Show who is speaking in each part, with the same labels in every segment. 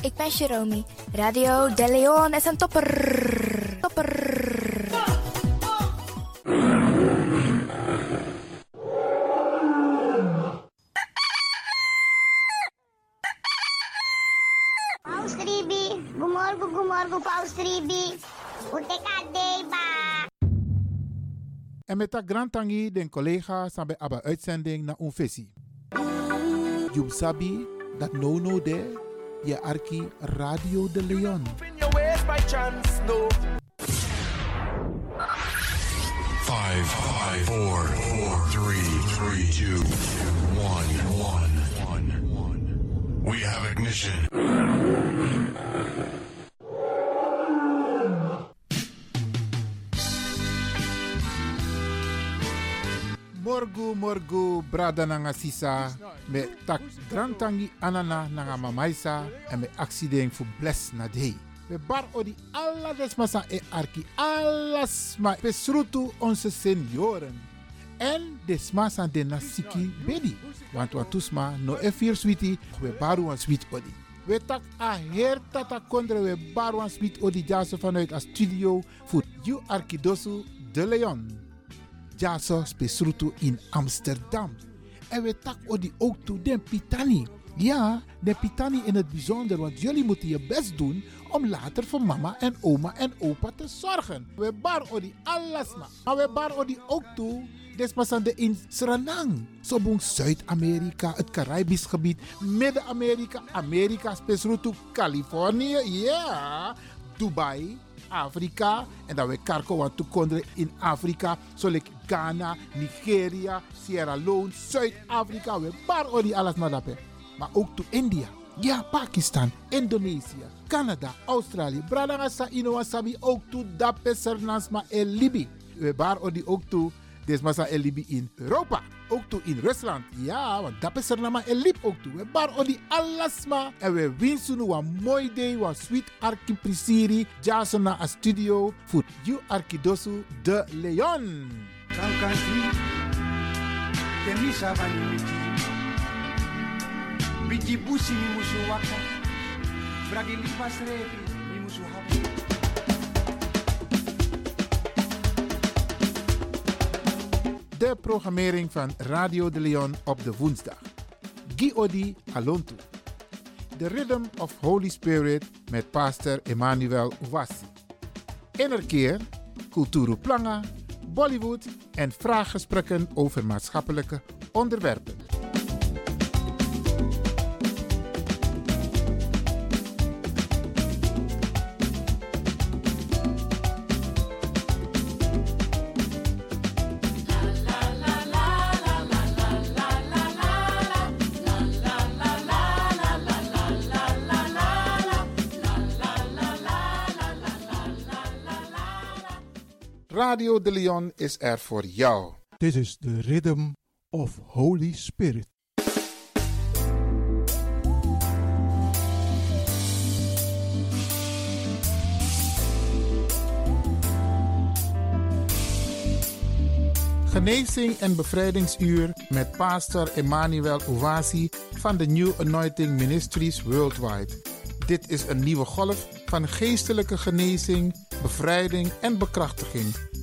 Speaker 1: ik ben Jerome. Radio De Leon is een topper. Topper.
Speaker 2: Paus Ribi, gumorgo, gumorgo, Paus Ribi. Ute kadeba.
Speaker 3: En met dat grand tangi den collega zijn bij Abba uitzending naar een visie. You sabi dat no no de je arki Radio de Leon.
Speaker 4: in your ways by chance, no.
Speaker 5: Five, five, four, four, three, three, two, one, one, one, one. We have ignition.
Speaker 3: Morgu morgu brada nanga sisa. Met tak grand tangi anana nanga mamaisa. En met accident voor bless na day. We bar odi alla desma san e arki. Alles ma pesrutu onze senioren. En de smasa de nasiki bedi. Want wat tusma no e vier sweetie, we baru een sweet odi. We tak a her tata kondre we baru een sweet odi jaso vanuit a studio voor you Arkidosu de Leon. Jaso spesrutu in Amsterdam. En we tak odi ook toe den pitani. Ja, de pitani in het bijzonder, want jullie moeten je best doen om later voor mama en oma en opa te zorgen. We bar odi alles maar. Maar we bar odi ook toe, despassande in Suriname. Zobong Zuid-Amerika, het Caribisch gebied, Midden-Amerika, Amerika, spesrutu Californië, ja. Dubai, Afrika. En dat we karko want toekonderen in Afrika. Zoals Ghana, Nigeria, Sierra Leone, Zuid-Afrika. We bar ori alles maar dat. hè. Maar ook to India. Ja, Pakistan, Indonesië, Canada, Australië. Bradangasa, Inowasabi. Ook to Dape, Sernasma en Libi. We bar ori ook to Desmasa en Libi in Europa. Ook toe in Rusland. Ja, want dat is er nama en liep ook toe. We bar odi alasma. En we winsten nu een mooi day. Een sweet arki prisiri. Jason na a studio. Voor you arkidosu de Leon.
Speaker 6: Kankanti, temi savani witi. Biji busi mi musu waka. Bragi lipas repi mi musu hapi.
Speaker 3: De programmering van Radio de Leon op de woensdag. Guy Odi Alonto. The Rhythm of Holy Spirit met pastor Emmanuel Ouassi. Innerkeer, Kulturu Planga, Bollywood en vraaggesprekken over maatschappelijke onderwerpen. Radio de Leon is er voor jou.
Speaker 7: Dit is de Rhythm of Holy Spirit.
Speaker 3: Genezing en bevrijdingsuur met pastor Emmanuel Ouasi van de New Anointing Ministries Worldwide. Dit is een nieuwe golf van geestelijke genezing, bevrijding en bekrachtiging.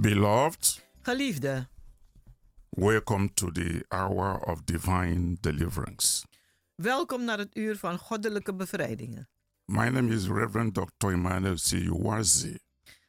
Speaker 8: Beloved,
Speaker 9: Geliefde,
Speaker 8: welcome to the hour of divine deliverance.
Speaker 9: welkom naar het uur van goddelijke bevrijdingen.
Speaker 8: My name is Reverend Dr. Emmanuel Siuwazi,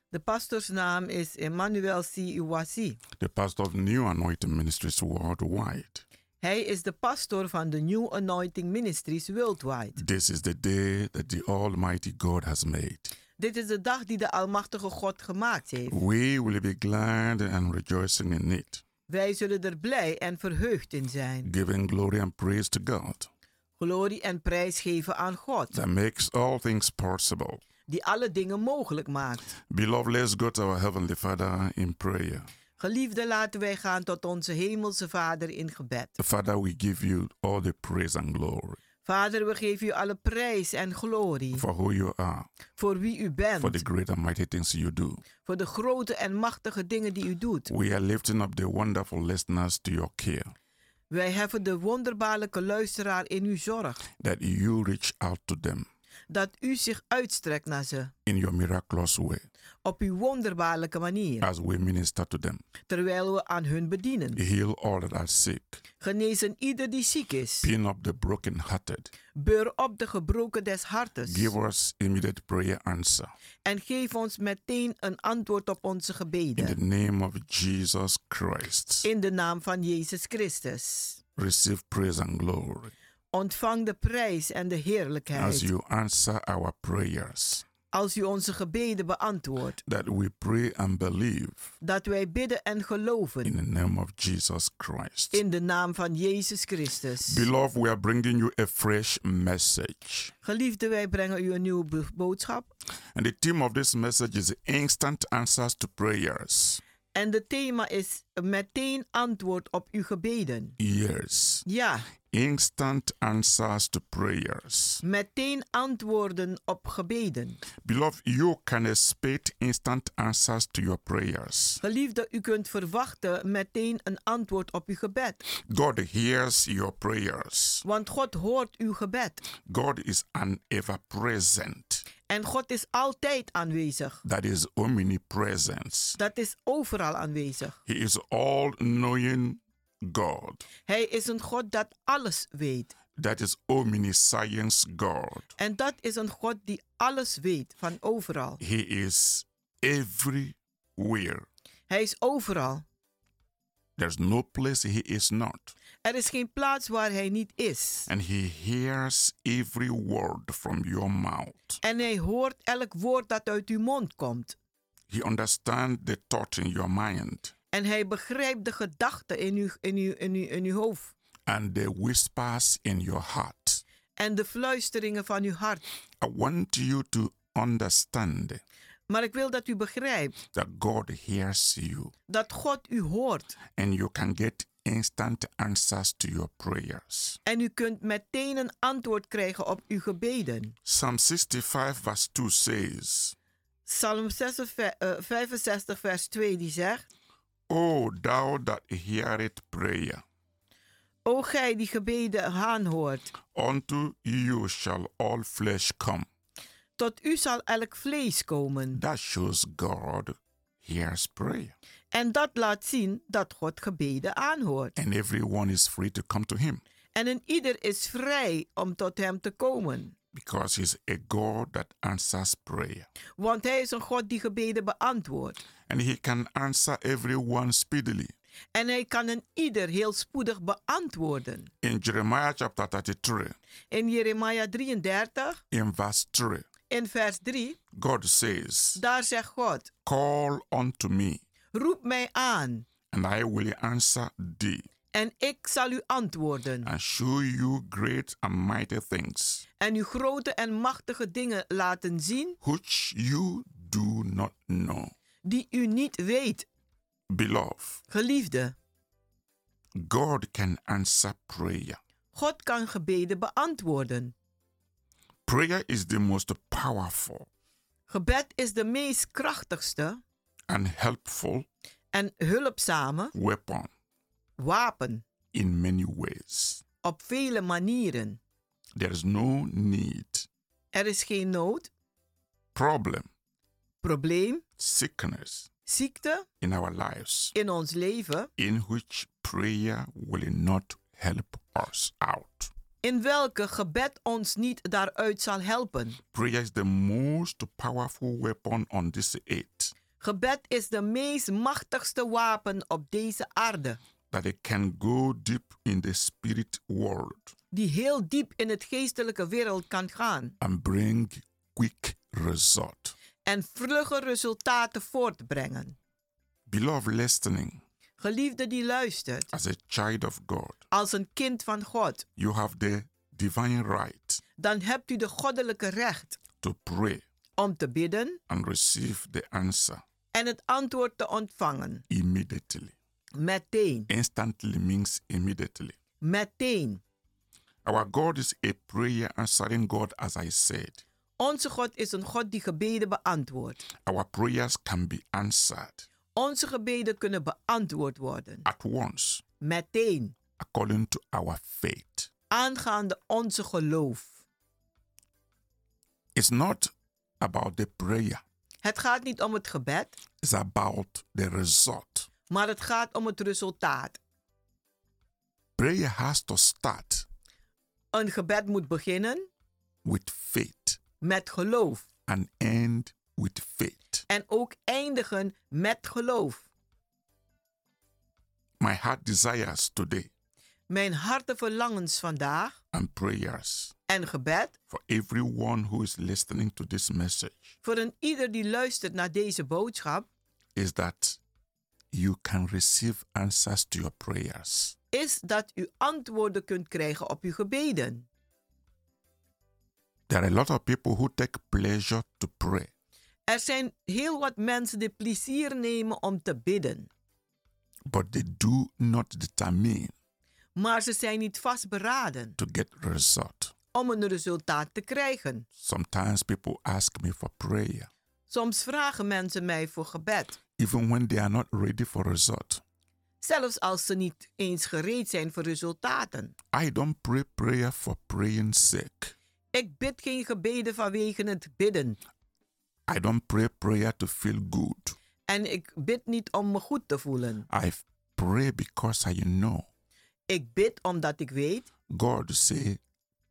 Speaker 9: De pastorsnaam is Emmanuel C. Iwasi.
Speaker 8: the pastor of New Anointing Ministries worldwide.
Speaker 9: Hij is de pastor van de New Anointing Ministries Worldwide.
Speaker 8: This is the day that the Almighty God has made.
Speaker 9: Dit is de dag die de Almachtige God gemaakt heeft.
Speaker 8: We will be glad and rejoicing in it,
Speaker 9: Wij zullen er blij en verheugd in zijn.
Speaker 8: giving glory and praise to God
Speaker 9: Glorie en prijs geven aan God,
Speaker 8: that makes all things possible.
Speaker 9: die alle dingen mogelijk maakt.
Speaker 8: Beloved, let's go to our Heavenly Father in prayer.
Speaker 9: Geliefde, laten wij gaan tot onze Hemelse Vader in gebed.
Speaker 8: Father, we give you all the praise and glory
Speaker 9: Vader, we geven u alle prijs en glorie
Speaker 8: for who you are,
Speaker 9: voor wie u
Speaker 8: for the
Speaker 9: bent,
Speaker 8: great and mighty things you do.
Speaker 9: voor de grote en machtige dingen die u doet.
Speaker 8: We are lifting up the wonderful listeners to your care,
Speaker 9: Wij heffen de wonderbaarlijke luisteraar in uw zorg,
Speaker 8: that you reach out to them
Speaker 9: dat u zich uitstrekt naar ze
Speaker 8: in your miraculous way
Speaker 9: op uw wonderbaarlijke manier,
Speaker 8: as we minister to them.
Speaker 9: terwijl we aan hun bedienen.
Speaker 8: Heal all that are sick,
Speaker 9: Genezen ieder die ziek is,
Speaker 8: pin up the brokenhearted,
Speaker 9: beur op de gebroken des hartes
Speaker 8: give us immediate prayer answer.
Speaker 9: en geef ons meteen een antwoord op onze
Speaker 8: In the
Speaker 9: gebeden.
Speaker 8: name of Jesus Christ,
Speaker 9: In de naam van Jezus Christus.
Speaker 8: receive praise and glory
Speaker 9: Ontvang de prijs en de
Speaker 8: as
Speaker 9: heerlijkheid
Speaker 8: you answer our prayers.
Speaker 9: als u onze gebeden beantwoordt,
Speaker 8: That we pray and believe
Speaker 9: dat wij bidden en
Speaker 8: in
Speaker 9: geloven
Speaker 8: the name of Jesus Christ.
Speaker 9: in de naam van Jezus Christus.
Speaker 8: Beloved, we are bringing you a fresh message.
Speaker 9: Geliefde, wij brengen u een nieuwe bo- boodschap.
Speaker 8: And the theme of this message is instant answers to prayers.
Speaker 9: En de thema is meteen antwoord op uw gebeden.
Speaker 8: Yes.
Speaker 9: Ja,
Speaker 8: Instant answers to prayers.
Speaker 9: meteen antwoorden op gebeden.
Speaker 8: Beloved, you can expect instant answers to your prayers.
Speaker 9: Geliefde, u kunt verwachten meteen een antwoord op uw gebed.
Speaker 8: God hears your prayers.
Speaker 9: Want God hoort uw gebed.
Speaker 8: God is an ever present,
Speaker 9: En God is altijd aanwezig.
Speaker 8: that is omnipresence.
Speaker 9: Dat is overal aanwezig.
Speaker 8: He is all knowing God,
Speaker 9: Hij is een God dat alles weet.
Speaker 8: that is omniscience God.
Speaker 9: En dat is een God die alles weet van overal.
Speaker 8: He is everywhere.
Speaker 9: Hij is overal.
Speaker 8: There's no place he is not.
Speaker 9: Er is geen plaats waar hij niet is.
Speaker 8: And he hears every word from your mouth.
Speaker 9: En hij hoort elk woord dat uit uw mond komt.
Speaker 8: He understands the thought in your mind
Speaker 9: En hij begrijpt de gedachten in uw, in, uw, in, uw, in uw hoofd.
Speaker 8: and the whispers in your heart.
Speaker 9: En de fluisteringen van uw hart.
Speaker 8: I want you to understand
Speaker 9: Maar ik wil dat u begrijpt
Speaker 8: that God hears you
Speaker 9: dat God u hoort.
Speaker 8: and you can get instant answers to your prayers.
Speaker 9: En u kunt meteen een antwoord krijgen op uw gebeden.
Speaker 8: Psalm 65, verse 2 says,
Speaker 9: Psalm 66, eh, 65, vers 2 die zegt.
Speaker 8: O thou that heareth prayer,
Speaker 9: O gij die gebeden aanhoort,
Speaker 8: unto you shall all flesh come.
Speaker 9: tot u zal elk vlees komen.
Speaker 8: That shows God hears prayer.
Speaker 9: En dat laat zien dat God gebeden aanhoort.
Speaker 8: And everyone is free to come to him
Speaker 9: En een ieder is vrij om tot hem te komen.
Speaker 8: because he's a God that answers prayer.
Speaker 9: Want hij is een God die gebeden beantwoordt.
Speaker 8: And he can answer everyone speedily.
Speaker 9: En hij kan een ieder heel spoedig beantwoorden.
Speaker 8: In Jeremiah chapter 33,
Speaker 9: In Jeremia 33,
Speaker 8: in verse 3,
Speaker 9: in vers 3,
Speaker 8: God says,
Speaker 9: daar zegt God:
Speaker 8: Call unto me,
Speaker 9: Roep mij aan,
Speaker 8: and I will answer thee,
Speaker 9: en ik zal u antwoorden.
Speaker 8: and show you great and mighty things
Speaker 9: En u grote en machtige dingen laten zien
Speaker 8: which you do not know.
Speaker 9: die u niet weet.
Speaker 8: Beloved,
Speaker 9: Geliefde,
Speaker 8: God can answer prayer.
Speaker 9: God kan gebeden beantwoorden.
Speaker 8: Prayer is the most powerful
Speaker 9: Gebed is de meest krachtigste
Speaker 8: and helpful
Speaker 9: en hulpzame
Speaker 8: weapon
Speaker 9: wapen
Speaker 8: in many ways.
Speaker 9: op vele manieren.
Speaker 8: There is no need,
Speaker 9: Er is geen nood,
Speaker 8: problem,
Speaker 9: probleem,
Speaker 8: sickness,
Speaker 9: ziekte
Speaker 8: in our lives
Speaker 9: in ons leven
Speaker 8: in which prayer will not help us out.
Speaker 9: in welke gebed ons niet daaruit zal helpen.
Speaker 8: Prayer is the most powerful weapon on this earth
Speaker 9: Gebed is de meest machtigste wapen op deze aarde,
Speaker 8: that it can go deep in the spirit world
Speaker 9: die heel diep in het geestelijke wereld kan gaan
Speaker 8: and bring quick result.
Speaker 9: en vlugge resultaten voortbrengen.
Speaker 8: Beloved listening,
Speaker 9: Geliefde die luistert,
Speaker 8: as a child of God,
Speaker 9: als een kind van God,
Speaker 8: you have the divine right
Speaker 9: dan hebt u de goddelijke recht
Speaker 8: to pray
Speaker 9: om te bidden
Speaker 8: and receive the answer
Speaker 9: en het antwoord te ontvangen.
Speaker 8: immediately.
Speaker 9: Meteen,
Speaker 8: Instantly means immediately.
Speaker 9: meteen.
Speaker 8: Our God is a prayer answering God, as I said.
Speaker 9: Onze God is een God die gebeden beantwoordt.
Speaker 8: Our prayers can be answered
Speaker 9: Onze gebeden kunnen beantwoord worden.
Speaker 8: at once
Speaker 9: Meteen,
Speaker 8: according to our faith.
Speaker 9: aangaande onze geloof.
Speaker 8: It's not about the prayer,
Speaker 9: Het gaat niet om het gebed,
Speaker 8: it's about the result.
Speaker 9: maar het gaat om het resultaat.
Speaker 8: Prayer has to start
Speaker 9: Een gebed moet beginnen
Speaker 8: with faith
Speaker 9: met geloof
Speaker 8: and end with faith.
Speaker 9: en ook eindigen met geloof.
Speaker 8: My heart desires today
Speaker 9: Mijn harte verlangens vandaag
Speaker 8: and prayers
Speaker 9: en gebed
Speaker 8: for everyone who is listening to this message
Speaker 9: voor een ieder die luistert naar deze boodschap
Speaker 8: is that you can receive answers to your prayers.
Speaker 9: is dat u antwoorden kunt krijgen op uw gebeden.
Speaker 8: There are a lot of people who take pleasure to pray,
Speaker 9: Er zijn heel wat mensen die plezier nemen om te bidden,
Speaker 8: but they do not determine
Speaker 9: maar ze zijn niet vastberaden
Speaker 8: to get result.
Speaker 9: om een resultaat te krijgen.
Speaker 8: Sometimes people ask me for prayer,
Speaker 9: Soms vragen mensen mij voor gebed,
Speaker 8: even when they are not ready for result.
Speaker 9: zelfs als ze niet eens gereed zijn voor resultaten.
Speaker 8: I don't pray prayer for praying's sake.
Speaker 9: Ik bid geen gebeden vanwege het bidden
Speaker 8: I don't pray prayer to feel good.
Speaker 9: en ik bid niet om me goed te voelen.
Speaker 8: I pray because I know
Speaker 9: Ik bid omdat ik weet,
Speaker 8: God say,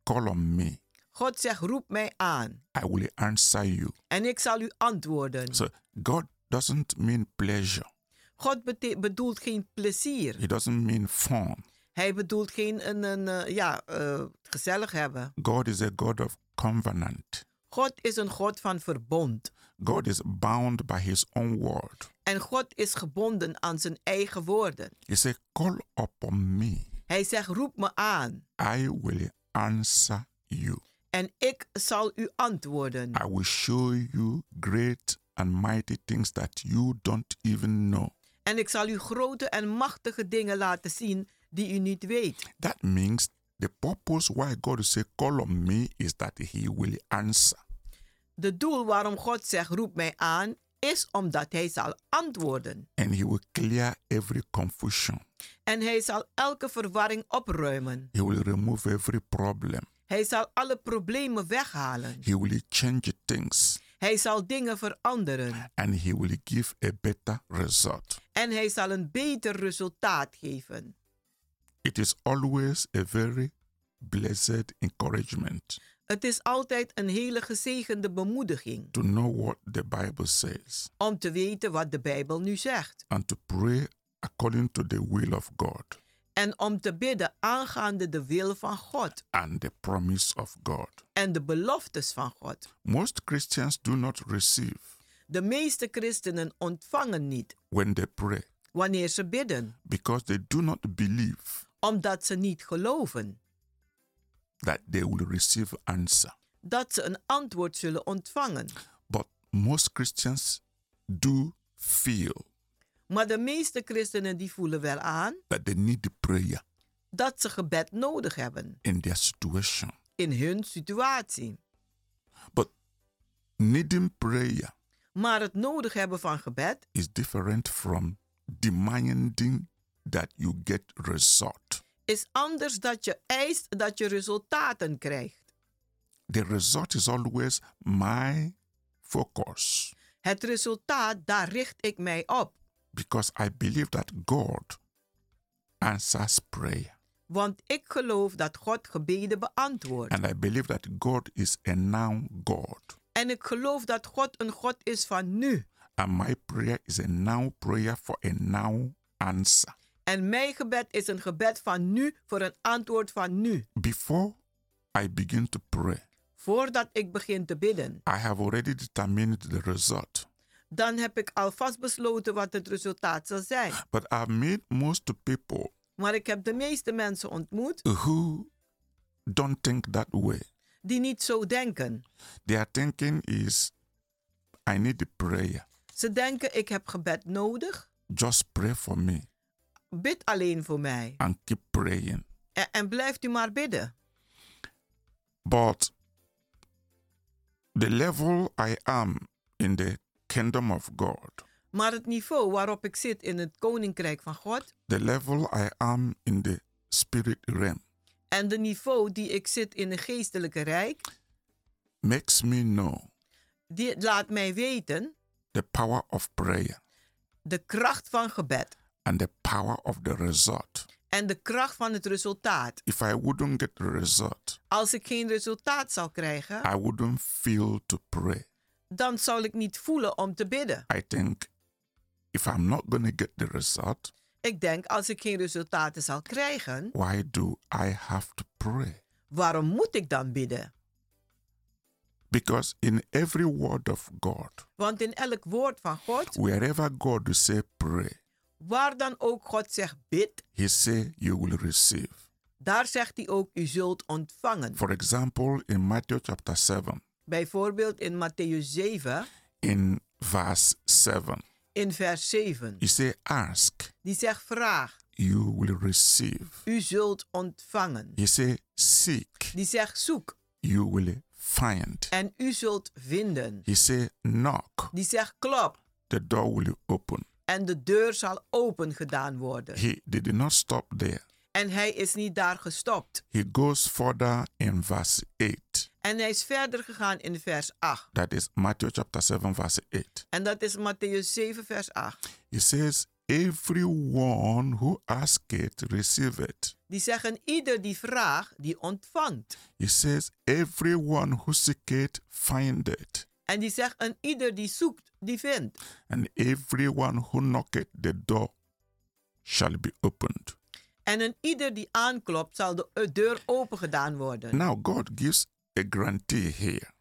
Speaker 8: call on me.
Speaker 9: God zegt roep mij aan
Speaker 8: I will answer you.
Speaker 9: en ik zal u antwoorden.
Speaker 8: So God doesn't mean pleasure.
Speaker 9: God bete- bedoelt geen plezier.
Speaker 8: He doesn't mean fun.
Speaker 9: Hij bedoelt geen een, een, eh, ja, eh, gezellig hebben.
Speaker 8: God is a God of covenant.
Speaker 9: God is een God van verbond.
Speaker 8: God is bound by his own word.
Speaker 9: En God is gebonden aan zijn eigen woorden.
Speaker 8: He said, Call upon me,
Speaker 9: Hij zegt: Roep me aan
Speaker 8: I will answer you.
Speaker 9: en ik zal u antwoorden.
Speaker 8: I will show you great and mighty things that you don't even know.
Speaker 9: En ik zal u grote en machtige dingen laten zien die u niet weet.
Speaker 8: That means the purpose why God said, Call on me is that he will answer.
Speaker 9: De doel waarom God zegt: Roep mij aan, is omdat hij zal antwoorden.
Speaker 8: And he will clear every confusion.
Speaker 9: En hij zal elke verwarring opruimen.
Speaker 8: He will remove every problem.
Speaker 9: Hij zal alle problemen weghalen.
Speaker 8: He will change things.
Speaker 9: Hij zal dingen veranderen.
Speaker 8: And he will give a better result.
Speaker 9: en hij zal een beter resultaat geven.
Speaker 8: It is always a very blessed encouragement
Speaker 9: Het is altijd een hele gezegende bemoediging
Speaker 8: to know what the Bible says
Speaker 9: om te weten wat de Bijbel nu zegt
Speaker 8: and to pray according to the will of God
Speaker 9: en om te bidden aangaande de wil van God
Speaker 8: and the promise of God.
Speaker 9: en de beloftes van God.
Speaker 8: Most Christians do not receive
Speaker 9: De meeste christenen ontvangen niet
Speaker 8: when they pray
Speaker 9: wanneer ze bidden,
Speaker 8: because they do not believe
Speaker 9: omdat ze niet geloven
Speaker 8: that they will receive answer.
Speaker 9: dat ze een antwoord zullen ontvangen.
Speaker 8: But most Christians do feel
Speaker 9: Maar de meeste christenen die voelen wel aan
Speaker 8: that they need prayer
Speaker 9: dat ze gebed nodig hebben
Speaker 8: in their situation.
Speaker 9: in hun situatie.
Speaker 8: But needing prayer
Speaker 9: Maar het nodig hebben van gebed
Speaker 8: is different from demanding that you get result.
Speaker 9: is anders dat je eist dat je resultaten krijgt.
Speaker 8: The result is always my focus.
Speaker 9: Het resultaat, daar richt ik mij op.
Speaker 8: because I believe that God answers prayer.
Speaker 9: Want ik geloof dat God gebeden beantwoordt.
Speaker 8: And I believe that God is a now God.
Speaker 9: En ik geloof dat God een God is van nu.
Speaker 8: And my prayer is a now prayer for a now answer.
Speaker 9: En mijn gebed is een gebed van nu voor een antwoord van nu.
Speaker 8: Before I begin to pray,
Speaker 9: Voordat ik begin te bidden,
Speaker 8: I have already determined the result.
Speaker 9: dan heb ik alvast besloten wat het resultaat zal zijn.
Speaker 8: But I've met most people
Speaker 9: Maar ik heb de meeste mensen ontmoet
Speaker 8: who don't think that way.
Speaker 9: die niet zo denken.
Speaker 8: Their thinking is, I need a prayer.
Speaker 9: Ze denken: ik heb gebed nodig,
Speaker 8: Just pray for me
Speaker 9: bid alleen voor mij.
Speaker 8: and keep praying.
Speaker 9: En, en blijft u maar bidden.
Speaker 8: But the level I am in the kingdom of God,
Speaker 9: Maar het niveau waarop ik zit in het koninkrijk van God
Speaker 8: the level I am in the spirit realm,
Speaker 9: en de niveau die ik zit in het geestelijke rijk,
Speaker 8: makes me know
Speaker 9: die laat mij weten
Speaker 8: the power of prayer
Speaker 9: de kracht van gebed
Speaker 8: and the power of the result.
Speaker 9: en de kracht van het resultaat.
Speaker 8: If I wouldn't get the result,
Speaker 9: Als ik geen resultaat zal krijgen,
Speaker 8: I wouldn't feel to pray.
Speaker 9: dan zal ik niet voelen om te bidden.
Speaker 8: I think if I'm not going to get the result,
Speaker 9: Ik denk, als ik geen resultaten zal krijgen,
Speaker 8: why do I have to pray?
Speaker 9: waarom moet ik dan bidden?
Speaker 8: Because in every word of God,
Speaker 9: Want in elk woord van God,
Speaker 8: wherever God say pray,
Speaker 9: waar dan ook God zegt bid,
Speaker 8: he say you will receive.
Speaker 9: daar zegt hij ook u zult ontvangen.
Speaker 8: For example, in Matthew chapter 7,
Speaker 9: Bijvoorbeeld in Matthäus 7,
Speaker 8: in verse 7,
Speaker 9: in vers 7.
Speaker 8: he say ask,
Speaker 9: Die zegt vraag,
Speaker 8: you will receive.
Speaker 9: u zult ontvangen.
Speaker 8: He say seek,
Speaker 9: Die zegt zoek
Speaker 8: you will find.
Speaker 9: en u zult vinden.
Speaker 8: He say knock,
Speaker 9: Die zegt klop
Speaker 8: the door will open.
Speaker 9: en de deur zal open gedaan worden.
Speaker 8: He did not stop there.
Speaker 9: En hij is niet daar gestopt.
Speaker 8: He goes further in verse 8.
Speaker 9: En hij is verder gegaan in vers 8.
Speaker 8: That is Matthew chapter 7, verse 8.
Speaker 9: En dat is Matthäus 7, vers 8.
Speaker 8: He says, Everyone who asketh, receive it.
Speaker 9: Die zeggen ieder die vraagt, die ontvangt.
Speaker 8: He says, Everyone who seeketh, find it.
Speaker 9: En die zegt en ieder die zoekt, die vindt.
Speaker 8: And everyone who knocketh, the door shall be opened.
Speaker 9: En een ieder die aanklopt, zal de eh, deur open gedaan worden.
Speaker 8: Now, God gives a guarantee here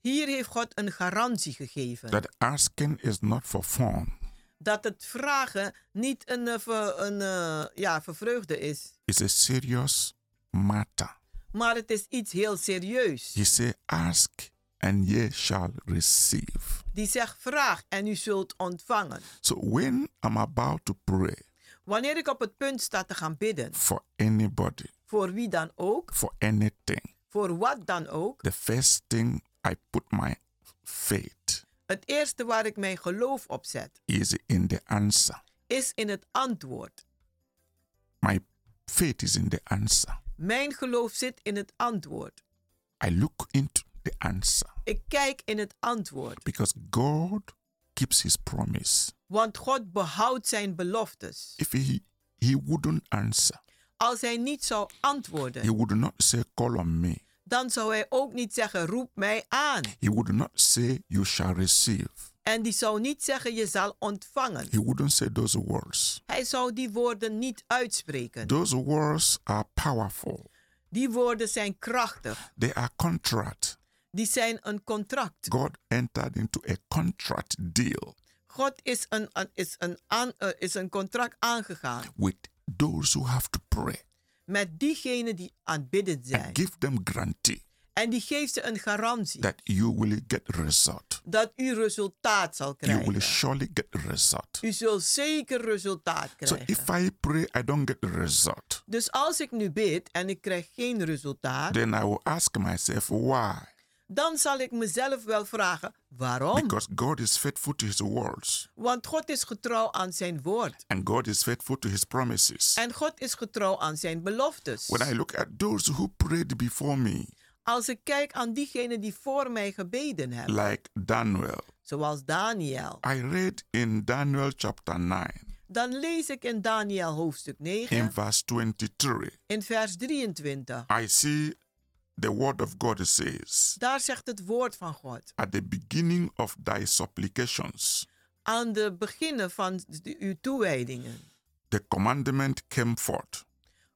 Speaker 9: Hier heeft God een garantie gegeven.
Speaker 8: that asking is not for fun,
Speaker 9: Dat het vragen niet een, eh, ver- een eh, ja, vervreugde is.
Speaker 8: it's a serious matter.
Speaker 9: Maar het is iets heel serieus.
Speaker 8: He says, Ask and ye shall receive.
Speaker 9: Die zegt vraag en u zult ontvangen.
Speaker 8: So, when I'm about to pray
Speaker 9: Wanneer ik op het punt sta te gaan bidden,
Speaker 8: for anybody,
Speaker 9: voor wie dan ook,
Speaker 8: for anything,
Speaker 9: voor wat dan ook,
Speaker 8: the first thing I put my faith
Speaker 9: het eerste waar ik mijn geloof op zet,
Speaker 8: is in the answer.
Speaker 9: is in het antwoord.
Speaker 8: My faith is in the answer.
Speaker 9: Mijn geloof zit in het antwoord.
Speaker 8: I look into the answer
Speaker 9: Ik kijk in het antwoord,
Speaker 8: because God keeps his promise.
Speaker 9: want God behoudt zijn beloftes.
Speaker 8: If he he wouldn't answer,
Speaker 9: Als hij niet zou
Speaker 8: he
Speaker 9: antwoorden,
Speaker 8: would not say call on me.
Speaker 9: dan zou hij ook niet zeggen roep mij aan.
Speaker 8: He would not say you shall receive.
Speaker 9: En die zou niet zeggen je zal ontvangen.
Speaker 8: He wouldn't say those words.
Speaker 9: Hij zou die woorden niet uitspreken.
Speaker 8: Those words are powerful.
Speaker 9: Die woorden zijn krachtig.
Speaker 8: They are contract.
Speaker 9: Die zijn een contract.
Speaker 8: God entered into a contract deal
Speaker 9: God is een, een- is een, aan, eh, is een contract aangegaan
Speaker 8: with those who have to pray
Speaker 9: met diegenen die aanbidden zijn.
Speaker 8: and give them guarantee
Speaker 9: En die geeft ze een garantie
Speaker 8: that you will get result.
Speaker 9: dat u resultaat zal
Speaker 8: You will
Speaker 9: krijgen.
Speaker 8: surely get result.
Speaker 9: U zult zeker resultaat
Speaker 8: So if
Speaker 9: krijgen.
Speaker 8: I pray, I don't get the result.
Speaker 9: Dus als ik nu bid en ik krijg geen resultaat,
Speaker 8: Then I will ask myself why.
Speaker 9: dan zal ik mezelf wel vragen waarom.
Speaker 8: Because God is faithful to His words
Speaker 9: Want God is getrouw aan zijn woord.
Speaker 8: and God is faithful to His promises.
Speaker 9: En God is getrouw aan zijn beloftes.
Speaker 8: When I look at those who prayed before me,
Speaker 9: Als ik kijk aan diegenen die voor mij gebeden hebben,
Speaker 8: like Daniel,
Speaker 9: zoals Daniel.
Speaker 8: I read in Daniel chapter 9,
Speaker 9: Dan lees ik in Daniel hoofdstuk 9
Speaker 8: in verse 23,
Speaker 9: in vers 23.
Speaker 8: I see the word of God says,
Speaker 9: Daar zegt het woord van God.
Speaker 8: At the beginning of thy supplications,
Speaker 9: Aan de beginnen van de, uw toewijdingen
Speaker 8: the commandment came forth,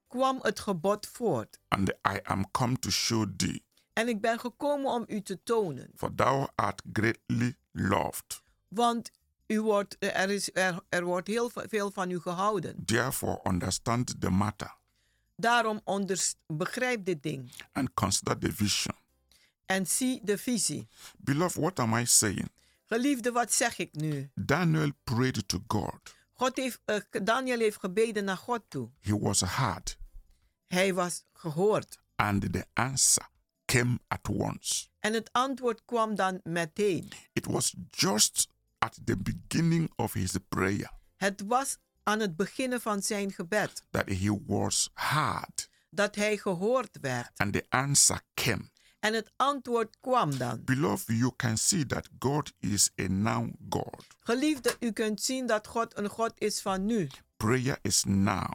Speaker 9: kwam het gebod voort.
Speaker 8: and I am come to show thee,
Speaker 9: En ik ben gekomen om u te tonen.
Speaker 8: for thou art greatly loved.
Speaker 9: Want u wordt, er, is, er, er wordt heel ve- veel van u gehouden.
Speaker 8: Therefore, understand the matter
Speaker 9: Daarom onders- begrijp dit ding
Speaker 8: and consider the vision.
Speaker 9: en zie de visie.
Speaker 8: Beloved, what am I saying?
Speaker 9: Geliefde, wat zeg ik nu?
Speaker 8: Daniel prayed to God.
Speaker 9: God heeft, eh, Daniel heeft gebeden naar God toe.
Speaker 8: He was heard,
Speaker 9: Hij was gehoord.
Speaker 8: and the answer came at once.
Speaker 9: En het antwoord kwam dan meteen.
Speaker 8: It was just at the beginning of his prayer
Speaker 9: Het was aan het beginnen van zijn gebed
Speaker 8: that he was heard,
Speaker 9: dat hij gehoord werd.
Speaker 8: and the answer came.
Speaker 9: En het antwoord kwam dan.
Speaker 8: Beloved, you can see that God is a now God.
Speaker 9: Geliefde, u kunt zien dat God een God is van nu.
Speaker 8: Prayer is now,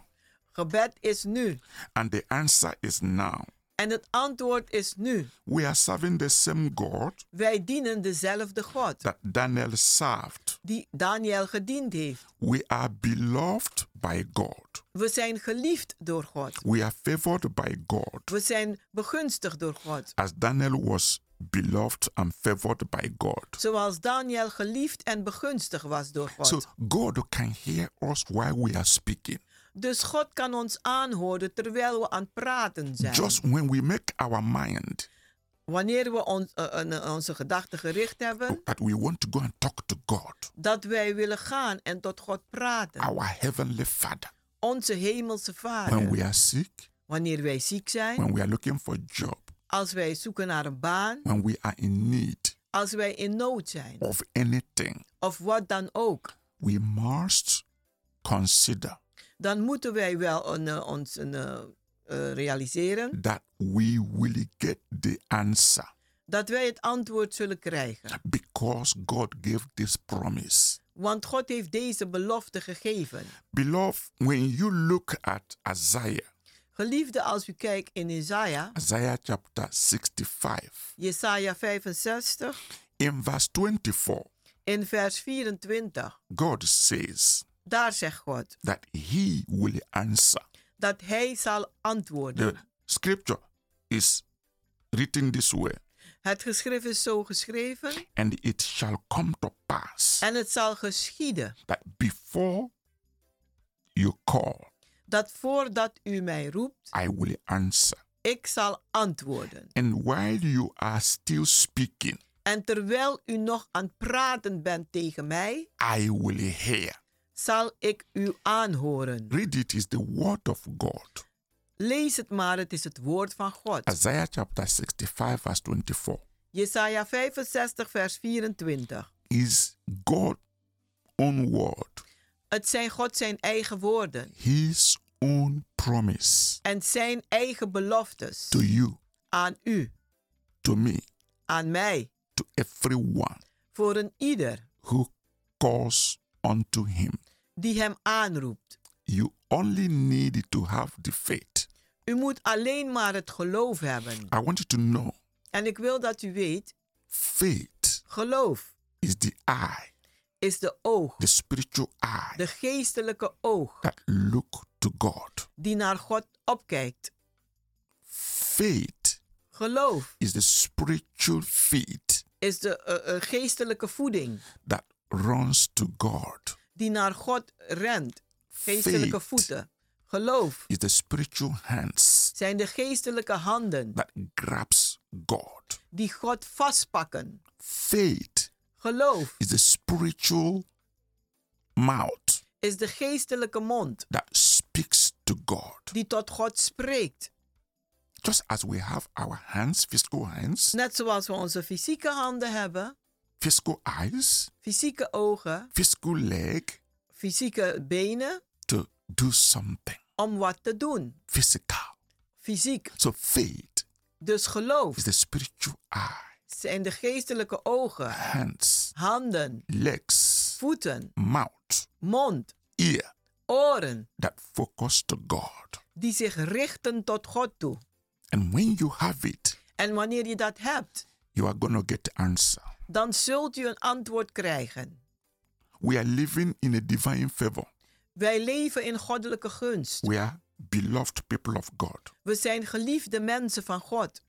Speaker 9: Gebed is nu.
Speaker 8: and the answer is now.
Speaker 9: En het antwoord is nu.
Speaker 8: We are serving the same God
Speaker 9: Wij dienen dezelfde God
Speaker 8: that Daniel served.
Speaker 9: die Daniel gediend heeft.
Speaker 8: We are beloved by God.
Speaker 9: We zijn geliefd door God.
Speaker 8: We are favored by God.
Speaker 9: We zijn begunstigd door God.
Speaker 8: As Daniel was beloved and favored by God.
Speaker 9: Zoals Daniel geliefd en begunstigd was door God.
Speaker 8: So God can hear us while we are speaking.
Speaker 9: Dus God kan ons aanhoren terwijl we aan het praten zijn.
Speaker 8: Just when we make our mind
Speaker 9: Wanneer we ons- eh, eh, eh, onze gedachten gericht hebben,
Speaker 8: that we want to go and talk to God,
Speaker 9: dat wij willen gaan en tot God praten.
Speaker 8: our Heavenly Father,
Speaker 9: Onze hemelse
Speaker 8: when we
Speaker 9: Vader.
Speaker 8: are sick,
Speaker 9: Wanneer wij ziek zijn,
Speaker 8: when we are looking for a job,
Speaker 9: als wij zoeken naar een baan,
Speaker 8: when we are in need
Speaker 9: als wij in nood zijn,
Speaker 8: of anything,
Speaker 9: of wat dan ook,
Speaker 8: we must consider
Speaker 9: dan moeten wij wel een, eh, ons een, eh, eh, realiseren
Speaker 8: that we will get the answer
Speaker 9: dat wij het antwoord zullen krijgen.
Speaker 8: because God gave this promise.
Speaker 9: Want God heeft deze belofte gegeven.
Speaker 8: Beloved, when you look at Isaiah,
Speaker 9: Geliefde, als u kijkt in Isaiah,
Speaker 8: Isaiah chapter 65,
Speaker 9: Jesaja 65,
Speaker 8: in verse 24,
Speaker 9: In vers 24,
Speaker 8: God says
Speaker 9: daar zegt God
Speaker 8: that He will answer.
Speaker 9: dat hij zal antwoorden.
Speaker 8: The scripture is written this way
Speaker 9: Het geschrift is zo geschreven
Speaker 8: and it shall come to pass
Speaker 9: en het zal geschieden
Speaker 8: that before you call,
Speaker 9: dat voordat u mij roept,
Speaker 8: I will answer.
Speaker 9: ik zal antwoorden.
Speaker 8: And while you are still speaking,
Speaker 9: En terwijl u nog aan het praten bent tegen mij,
Speaker 8: I will hear.
Speaker 9: zal ik u aanhoren.
Speaker 8: Read it is the word of God.
Speaker 9: Lees het maar, het is het woord van God.
Speaker 8: Isaiah chapter 65, verse 24.
Speaker 9: Jesaja 65, vers 24.
Speaker 8: Is God's own word,
Speaker 9: Het zijn God zijn eigen woorden
Speaker 8: His own promise
Speaker 9: en zijn eigen beloftes
Speaker 8: to you,
Speaker 9: aan u,
Speaker 8: to me,
Speaker 9: aan mij.
Speaker 8: to everyone
Speaker 9: voor een ieder
Speaker 8: who calls unto Him.
Speaker 9: die hem aanroept.
Speaker 8: You only need to have the faith.
Speaker 9: U moet alleen maar het geloof hebben.
Speaker 8: I want you to know
Speaker 9: En ik wil dat u weet,
Speaker 8: faith
Speaker 9: geloof
Speaker 8: is the eye,
Speaker 9: is de oog,
Speaker 8: the spiritual eye
Speaker 9: de geestelijke oog
Speaker 8: that look to God.
Speaker 9: die naar God opkijkt.
Speaker 8: Faith
Speaker 9: Geloof
Speaker 8: is the spiritual feet
Speaker 9: is de eh, eh, geestelijke voeding
Speaker 8: that runs to God.
Speaker 9: die naar God rent. Geestelijke
Speaker 8: Faith
Speaker 9: voeten. Geloof
Speaker 8: is the spiritual hands
Speaker 9: zijn de geestelijke handen
Speaker 8: that grabs God.
Speaker 9: die God vastpakken.
Speaker 8: Faith
Speaker 9: Geloof
Speaker 8: is the spiritual mouth
Speaker 9: is de geestelijke mond
Speaker 8: that speaks to God.
Speaker 9: die tot God spreekt.
Speaker 8: Just as we have our hands, physical hands,
Speaker 9: Net zoals we onze fysieke handen hebben,
Speaker 8: physical eyes,
Speaker 9: fysieke ogen,
Speaker 8: physical leg
Speaker 9: fysieke benen
Speaker 8: to do something
Speaker 9: om wat te doen.
Speaker 8: physical.
Speaker 9: Fysiek.
Speaker 8: So faith
Speaker 9: Dus geloof
Speaker 8: is the spiritual eye
Speaker 9: zijn de geestelijke ogen,
Speaker 8: hands,
Speaker 9: handen,
Speaker 8: legs,
Speaker 9: voeten,
Speaker 8: mouth,
Speaker 9: mond,
Speaker 8: ear
Speaker 9: oren
Speaker 8: that focus to God.
Speaker 9: die zich richten tot God toe.
Speaker 8: And when you have it,
Speaker 9: En wanneer je dat hebt,
Speaker 8: you are going to get answer.
Speaker 9: dan zult u een antwoord krijgen.
Speaker 8: We are living in a divine favor.
Speaker 9: Wij leven in goddelijke gunst.
Speaker 8: We are beloved people of God.
Speaker 9: We zijn geliefde mensen van God.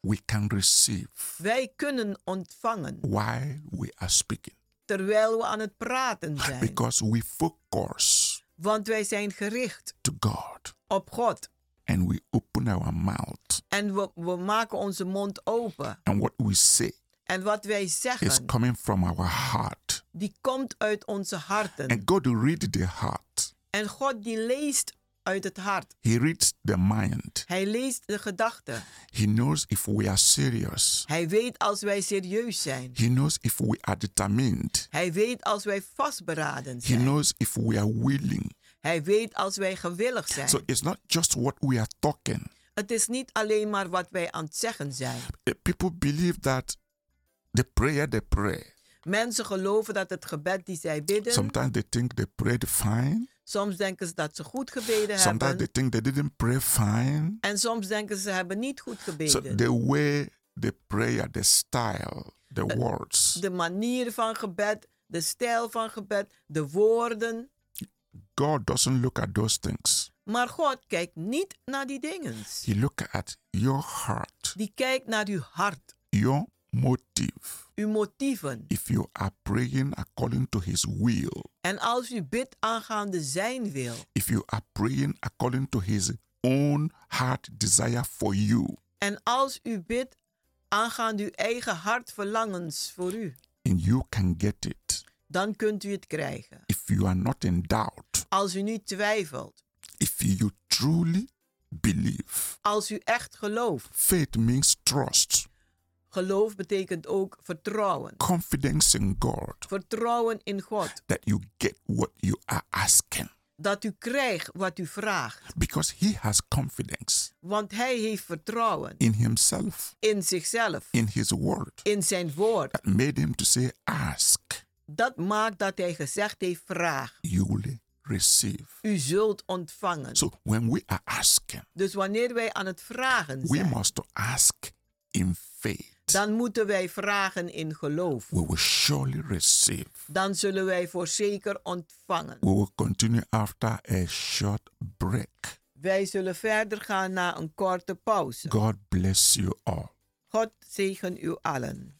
Speaker 8: We can receive
Speaker 9: Wij kunnen ontvangen
Speaker 8: while we are speaking
Speaker 9: terwijl we aan het praten zijn.
Speaker 8: because we focus
Speaker 9: Want wij zijn gericht
Speaker 8: to God
Speaker 9: op God.
Speaker 8: and we open our mouth.
Speaker 9: En we, we maken onze mond open.
Speaker 8: And what we say
Speaker 9: En wat wij
Speaker 8: is
Speaker 9: zeggen,
Speaker 8: coming from our heart.
Speaker 9: die komt uit onze harten.
Speaker 8: And God will read the heart,
Speaker 9: En God die leest uit het hart.
Speaker 8: He reads the mind.
Speaker 9: Hij leest de gedachten.
Speaker 8: He knows if we are serious,
Speaker 9: Hij weet als wij serieus zijn.
Speaker 8: He knows if we are determined.
Speaker 9: Hij weet als wij vastberaden
Speaker 8: He
Speaker 9: zijn.
Speaker 8: knows if we are willing.
Speaker 9: Hij weet als wij gewillig
Speaker 8: So
Speaker 9: zijn.
Speaker 8: it's not just what we are talking.
Speaker 9: Het is niet alleen maar wat wij aan het zeggen zijn.
Speaker 8: Eh, People believe that the prayer they pray,
Speaker 9: Mensen geloven dat het gebed die zij bidden,
Speaker 8: sometimes they think they prayed fine,
Speaker 9: soms denken ze dat ze goed gebeden
Speaker 8: sometimes they
Speaker 9: hebben.
Speaker 8: think they didn't pray fine.
Speaker 9: En soms denken ze ze hebben niet goed
Speaker 8: So
Speaker 9: gebeden.
Speaker 8: the way the prayer, the style, the words,
Speaker 9: de manier van gebed, de stijl van gebed, de woorden.
Speaker 8: God doesn't look at those things.
Speaker 9: Maar God kijkt niet naar die dingen.
Speaker 8: He look at your heart,
Speaker 9: Die kijkt naar uw hart,
Speaker 8: your motive.
Speaker 9: uw motieven.
Speaker 8: If you are praying according to His will,
Speaker 9: En als u bidt aangaande zijn wil,
Speaker 8: if you are praying according to His own heart desire for you,
Speaker 9: en als u bidt aangaande uw eigen hartverlangens voor u,
Speaker 8: and you can get it.
Speaker 9: dan kunt u het krijgen.
Speaker 8: If you are not in doubt,
Speaker 9: Als u niet twijfelt,
Speaker 8: if you truly believe,
Speaker 9: als u echt gelooft.
Speaker 8: faith means trust,
Speaker 9: Geloof betekent ook vertrouwen.
Speaker 8: confidence in God
Speaker 9: Vertrouwen in God,
Speaker 8: that you get what you are asking
Speaker 9: dat u krijgt wat u vraagt.
Speaker 8: because He has confidence
Speaker 9: Want Hij heeft vertrouwen
Speaker 8: in Himself,
Speaker 9: in zichzelf,
Speaker 8: in His word,
Speaker 9: in zijn woord.
Speaker 8: that made Him to say, Ask,
Speaker 9: Dat maakt dat hij gezegd heeft: vraag.
Speaker 8: you will receive.
Speaker 9: U zult ontvangen.
Speaker 8: So when we are asking,
Speaker 9: Dus wanneer wij aan het vragen
Speaker 8: we
Speaker 9: zijn,
Speaker 8: must ask in faith.
Speaker 9: dan moeten wij vragen in geloof.
Speaker 8: We will surely receive.
Speaker 9: Dan zullen wij voor zeker ontvangen.
Speaker 8: We will continue after a short break.
Speaker 9: Wij zullen verder gaan na een korte pauze.
Speaker 8: God bless you all.
Speaker 9: God zegen u allen.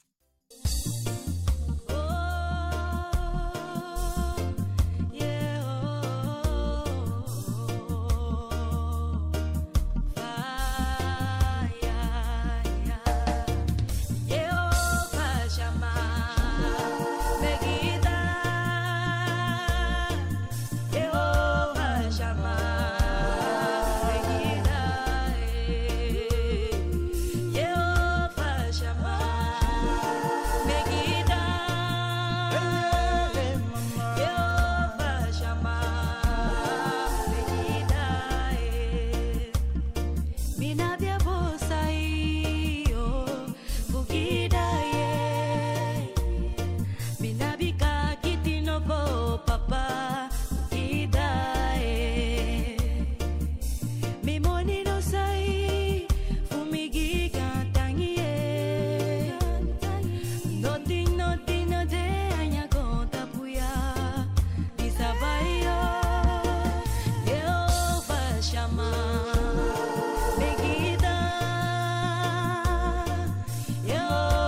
Speaker 10: oh.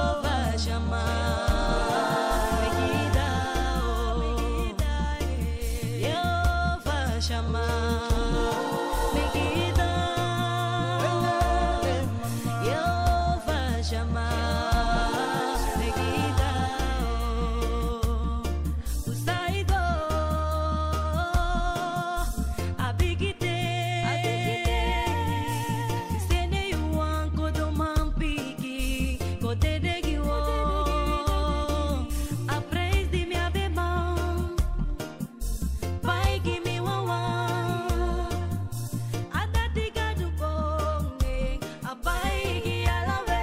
Speaker 10: Atatikadukonge, abaigi alawe.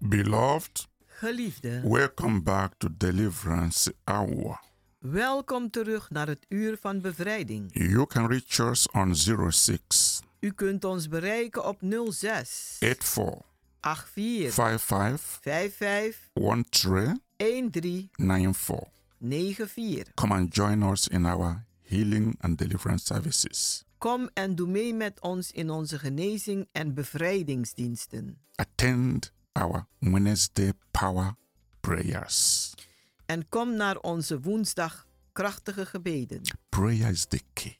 Speaker 8: Beloved,
Speaker 9: Geliefde,
Speaker 8: welcome back to Deliverance Hour.
Speaker 9: welkom terug naar het uur van bevrijding.
Speaker 8: You can reach us on 06
Speaker 9: U kunt ons bereiken op 06
Speaker 8: Eh, 84
Speaker 9: 84
Speaker 8: 55
Speaker 9: 55
Speaker 8: 13
Speaker 9: 13
Speaker 8: 94.
Speaker 9: 94.
Speaker 8: Come and join us in our healing and deliverance services.
Speaker 9: Kom en doe mee met ons in onze genezing en bevrijdingsdiensten.
Speaker 8: Attend our Wednesday power prayers.
Speaker 9: En kom naar onze woensdag krachtige gebeden.
Speaker 8: Prayer is the key,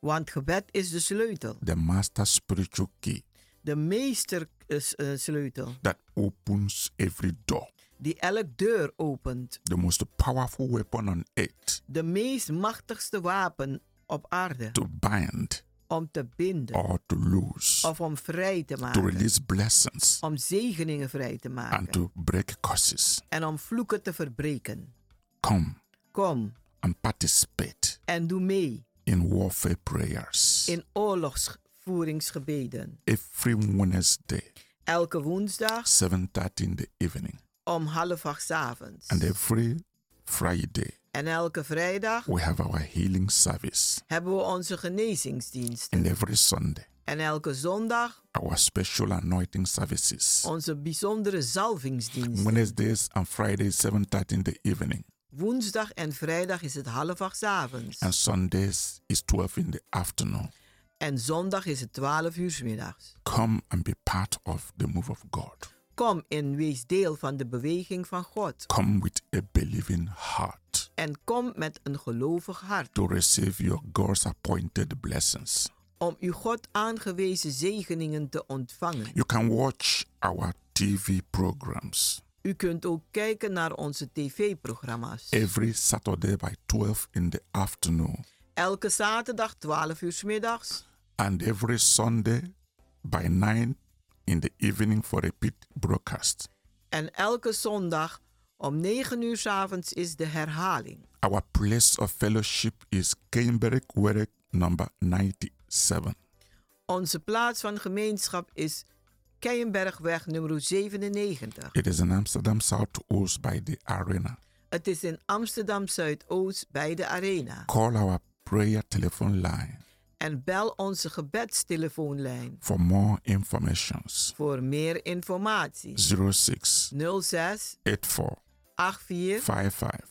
Speaker 9: Want gebed is de sleutel,
Speaker 8: the master spiritual key
Speaker 9: de meester is eh, sleutel,
Speaker 8: that opens every door.
Speaker 9: die elk deur opent.
Speaker 8: The most powerful weapon on earth
Speaker 9: De meest machtigste wapen op aarde
Speaker 8: to bind
Speaker 9: om te binden
Speaker 8: or to loose,
Speaker 9: of om vrij te
Speaker 8: to
Speaker 9: maken.
Speaker 8: release blessings
Speaker 9: Om zegeningen vrij te
Speaker 8: and
Speaker 9: maken
Speaker 8: to break curses.
Speaker 9: en om vloeken te verbreken.
Speaker 8: Come
Speaker 9: Kom
Speaker 8: and participate
Speaker 9: en doe mee
Speaker 8: in warfare prayers
Speaker 9: in oorlogsvoeringsgebeden.
Speaker 8: every Wednesday,
Speaker 9: Elke woensdag
Speaker 8: 7:30 in the evening.
Speaker 9: om half acht 's avonds.
Speaker 8: And every Friday,
Speaker 9: En elke vrijdag
Speaker 8: we have our healing service.
Speaker 9: hebben we onze genezingsdienst.
Speaker 8: And every Sunday,
Speaker 9: En elke zondag
Speaker 8: our special anointing services.
Speaker 9: onze bijzondere zalvingsdienst.
Speaker 8: Wednesdays and Fridays, 7.30 in the evening.
Speaker 9: Woensdag en vrijdag is het half acht 's avonds.
Speaker 8: And Sundays is 12 in the afternoon.
Speaker 9: En zondag is het twaalf uur 's middags.
Speaker 8: Come and be part of the move of God.
Speaker 9: Kom en wees deel van de beweging van God.
Speaker 8: Come with a believing heart
Speaker 9: En kom met een gelovig hart
Speaker 8: to receive your God's appointed blessings.
Speaker 9: om uw God aangewezen zegeningen te ontvangen.
Speaker 8: You can watch our TV programs
Speaker 9: U kunt ook kijken naar onze tv-programma's.
Speaker 8: every Saturday by 12 in the afternoon.
Speaker 9: Elke zaterdag 12 uur 's middags
Speaker 8: and every Sunday by 9 in the evening for repeat broadcast.
Speaker 9: En elke zondag om 9 uur 's avonds is de herhaling.
Speaker 8: Our place of fellowship is Cambridge Werek number 97.
Speaker 9: Onze plaats van gemeenschap is Keienbergweg nummer 97.
Speaker 8: It is in Amsterdam South Oost by the arena.
Speaker 9: Het is in Amsterdam Zuidoost bij de Arena.
Speaker 8: Call our prayer telephone line
Speaker 9: En bel onze gebedstelefoonlijn
Speaker 8: for more information.
Speaker 9: voor meer informatie.
Speaker 8: 06
Speaker 9: 06
Speaker 8: 84
Speaker 9: 84
Speaker 8: 55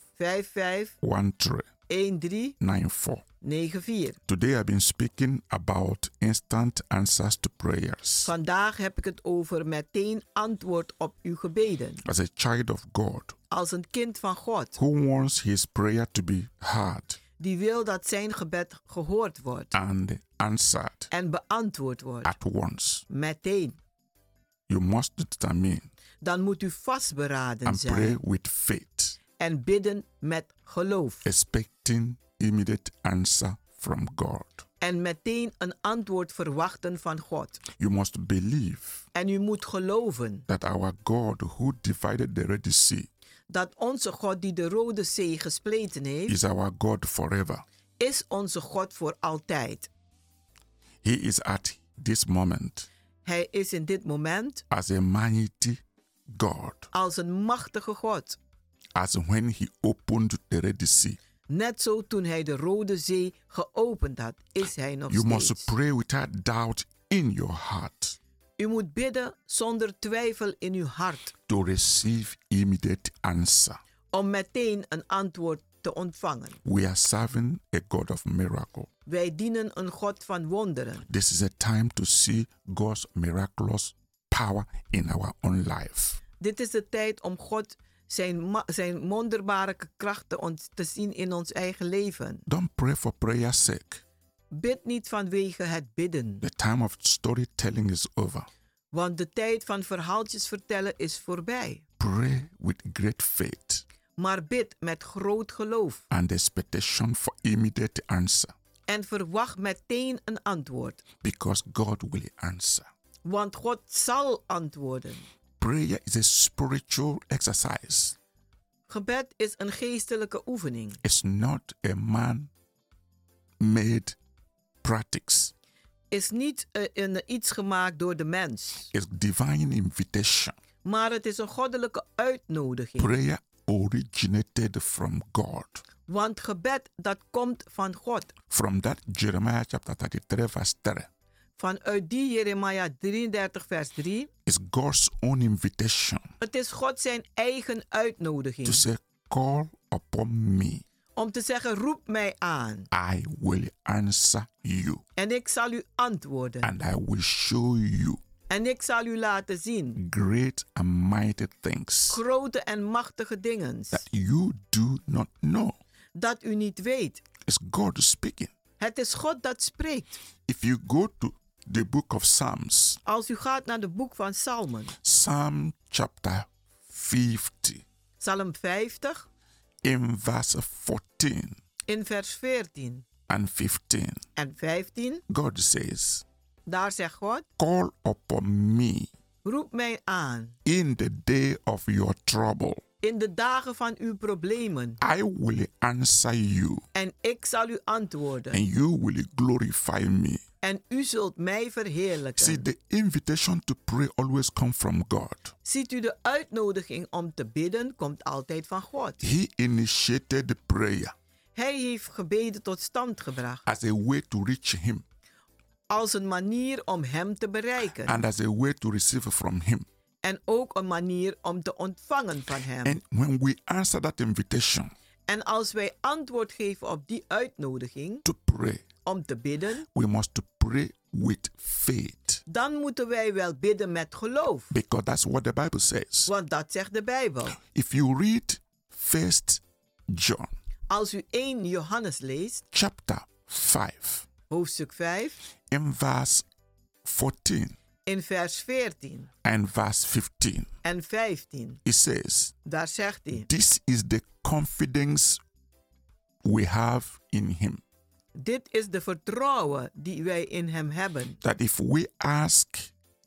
Speaker 9: 55 13
Speaker 8: 94.
Speaker 9: 94.
Speaker 8: Today I've been speaking about instant answers to prayers.
Speaker 9: Vandaag heb ik het over meteen antwoord op uw gebeden.
Speaker 8: As a child of God,
Speaker 9: Als een kind van God.
Speaker 8: who wants his prayer to be heard
Speaker 9: die wil dat zijn gebed gehoord wordt
Speaker 8: and answered
Speaker 9: en beantwoord wordt.
Speaker 8: at once.
Speaker 9: Meteen.
Speaker 8: You must determine
Speaker 9: Dan moet u vastberaden
Speaker 8: and pray
Speaker 9: zijn
Speaker 8: with faith,
Speaker 9: en bidden met geloof.
Speaker 8: expecting immediate answer from God.
Speaker 9: En meteen een antwoord verwachten van God.
Speaker 8: You must believe
Speaker 9: En u moet geloven
Speaker 8: that our God who divided the Red Sea
Speaker 9: dat onze God die de Rode Zee gespleten heeft,
Speaker 8: is our God forever.
Speaker 9: is onze God voor altijd.
Speaker 8: He is at this moment
Speaker 9: Hij is in dit moment
Speaker 8: as a mighty God,
Speaker 9: als een machtige God.
Speaker 8: as when he opened the Red Sea.
Speaker 9: Net zo toen hij de Rode Zee geopend had, is hij nog
Speaker 8: You
Speaker 9: steeds.
Speaker 8: must pray without doubt in your heart
Speaker 9: U moet bidden zonder twijfel in uw hart
Speaker 8: to receive immediate answer.
Speaker 9: om meteen een antwoord te ontvangen.
Speaker 8: We are serving a God of miracle.
Speaker 9: Wij dienen een God van wonderen.
Speaker 8: This is a time to see God's miraculous power in our own life.
Speaker 9: Dit is de tijd om God zijn, ma- zijn wonderbare krachten ons te zien in ons eigen leven.
Speaker 8: Don't pray for prayer's sake.
Speaker 9: Bid niet vanwege het bidden,
Speaker 8: The time of storytelling is over.
Speaker 9: want de tijd van verhaaltjes vertellen is voorbij.
Speaker 8: Pray with great faith
Speaker 9: Maar bid met groot geloof
Speaker 8: and expectation for immediate answer
Speaker 9: en verwacht meteen een antwoord,
Speaker 8: because God will answer.
Speaker 9: want God zal antwoorden.
Speaker 8: Prayer is a spiritual exercise,
Speaker 9: Gebed is een geestelijke oefening.
Speaker 8: it's not a man made practice,
Speaker 9: is niet eh, een, iets gemaakt door de mens,
Speaker 8: it's divine invitation
Speaker 9: maar het is een goddelijke uitnodiging.
Speaker 8: Prayer originated from God.
Speaker 9: Want gebed dat komt van God.
Speaker 8: From that, Jeremiah chapter 33, verse 3
Speaker 9: Vanuit die Jeremia 33 vers 3.
Speaker 8: is God's own invitation
Speaker 9: Het is God zijn eigen uitnodiging.
Speaker 8: to say, Call upon me,
Speaker 9: om te zeggen, roep mij aan.
Speaker 8: I will answer you,
Speaker 9: En ik zal u antwoorden.
Speaker 8: and I will show you
Speaker 9: En ik zal u laten zien.
Speaker 8: great and mighty things
Speaker 9: Grote en machtige dingen.
Speaker 8: that you do not know.
Speaker 9: Dat u niet weet.
Speaker 8: It's God speaking.
Speaker 9: Het is God dat spreekt.
Speaker 8: If you go to the book of Psalms,
Speaker 9: Als u gaat naar de boek van Psalmen.
Speaker 8: Psalm chapter 50,
Speaker 9: Psalm 50
Speaker 8: in verse 14
Speaker 9: in vers 14
Speaker 8: and 15,
Speaker 9: en 15.
Speaker 8: God says,
Speaker 9: Daar zegt God,
Speaker 8: Call upon me
Speaker 9: roep mij aan.
Speaker 8: in the day of your trouble.
Speaker 9: In de dagen van uw problemen.
Speaker 8: I will answer you,
Speaker 9: En ik zal u antwoorden.
Speaker 8: and you will glorify me.
Speaker 9: En u zult mij
Speaker 8: See,
Speaker 9: verheerlijken.
Speaker 8: the invitation to pray always comes from God.
Speaker 9: Ziet u de uitnodiging om te bidden komt altijd van God.
Speaker 8: He initiated the prayer
Speaker 9: Hij heeft gebeden tot stand gebracht
Speaker 8: as a way to reach Him
Speaker 9: als een manier om hem te bereiken
Speaker 8: and as a way to receive from Him.
Speaker 9: en ook een manier om te ontvangen van hem.
Speaker 8: And when we answer that invitation
Speaker 9: En als wij antwoord geven op die uitnodiging
Speaker 8: to pray,
Speaker 9: om te bidden,
Speaker 8: we must to pray with faith
Speaker 9: dan moeten wij wel bidden met geloof,
Speaker 8: because that's what the Bible says.
Speaker 9: want dat zegt de Bijbel.
Speaker 8: If you read First John
Speaker 9: Als u 1 Johannes leest,
Speaker 8: chapter 5
Speaker 9: hoofdstuk 5,
Speaker 8: in verse 14
Speaker 9: in vers 14
Speaker 8: and verse 15,
Speaker 9: en 15,
Speaker 8: it says,
Speaker 9: daar zegt hij:
Speaker 8: This is the confidence we have in Him
Speaker 9: Dit is de vertrouwen die wij in hem hebben,
Speaker 8: that if we ask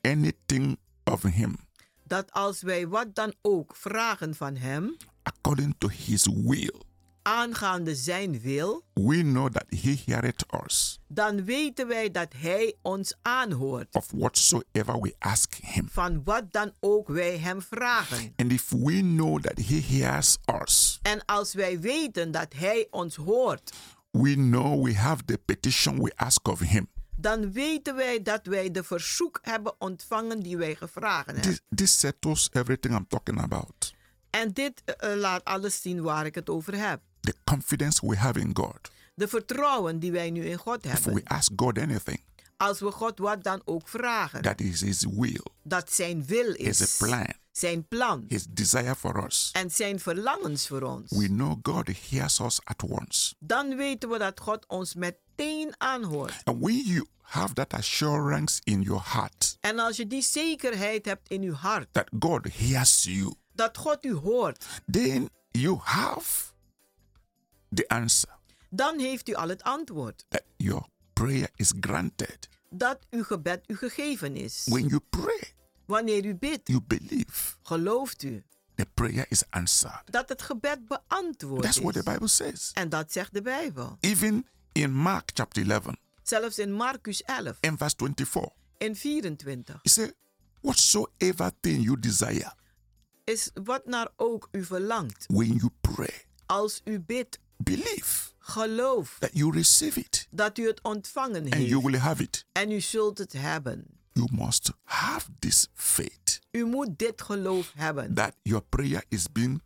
Speaker 8: anything of Him
Speaker 9: dat als wij wat dan ook vragen van hem,
Speaker 8: according to His will,
Speaker 9: aangaande zijn wil,
Speaker 8: we know that He heareth us
Speaker 9: dan weten wij dat Hij ons aanhoort.
Speaker 8: of whatsoever we ask Him.
Speaker 9: Van wat dan ook wij Hem vragen.
Speaker 8: And if we know that He hears us,
Speaker 9: En als wij weten dat Hij ons hoort,
Speaker 8: we know we have the petition we ask of Him.
Speaker 9: dan weten wij dat wij de verzoek hebben ontvangen die wij gevragen hebben.
Speaker 8: This, this settles everything I'm talking about.
Speaker 9: En dit eh, eh, laat alles zien waar ik het over heb.
Speaker 8: The confidence we have in God.
Speaker 9: De vertrouwen die wij nu in God
Speaker 8: If we
Speaker 9: hebben.
Speaker 8: ask God anything,
Speaker 9: Als we God wat dan ook vragen,
Speaker 8: that is His will,
Speaker 9: dat Zijn wil
Speaker 8: His
Speaker 9: is.
Speaker 8: plan.
Speaker 9: Zijn plan.
Speaker 8: His desire for us.
Speaker 9: En zijn verlangens voor ons.
Speaker 8: We know God hears us at once.
Speaker 9: Dan weten we dat God ons meteen aanhoort.
Speaker 8: And when you have that assurance in your heart
Speaker 9: En als je die zekerheid hebt in uw hart,
Speaker 8: that God hears you,
Speaker 9: dat God u hoort,
Speaker 8: then you have the answer
Speaker 9: dan heeft u al het antwoord.
Speaker 8: that your prayer is granted.
Speaker 9: Dat uw gebed u gegeven is.
Speaker 8: When you pray,
Speaker 9: Wanneer u bidt,
Speaker 8: you believe
Speaker 9: gelooft u
Speaker 8: the prayer is answered.
Speaker 9: dat het gebed beantwoord
Speaker 8: That's what the
Speaker 9: is.
Speaker 8: Bible says.
Speaker 9: En dat zegt de Bijbel.
Speaker 8: Even in Mark chapter 11,
Speaker 9: Zelfs in Marcus 11
Speaker 8: in verse 24,
Speaker 9: en 24
Speaker 8: he said, Whatsoever thing you desire
Speaker 9: is wat naar ook u verlangt.
Speaker 8: when you pray,
Speaker 9: Als u bidt,
Speaker 8: believe
Speaker 9: geloof
Speaker 8: that you receive it
Speaker 9: dat u het ontvangen
Speaker 8: and you
Speaker 9: heeft
Speaker 8: will have it.
Speaker 9: en u zult het hebben.
Speaker 8: You must have this faith
Speaker 9: U moet dit geloof hebben
Speaker 8: that your prayer is being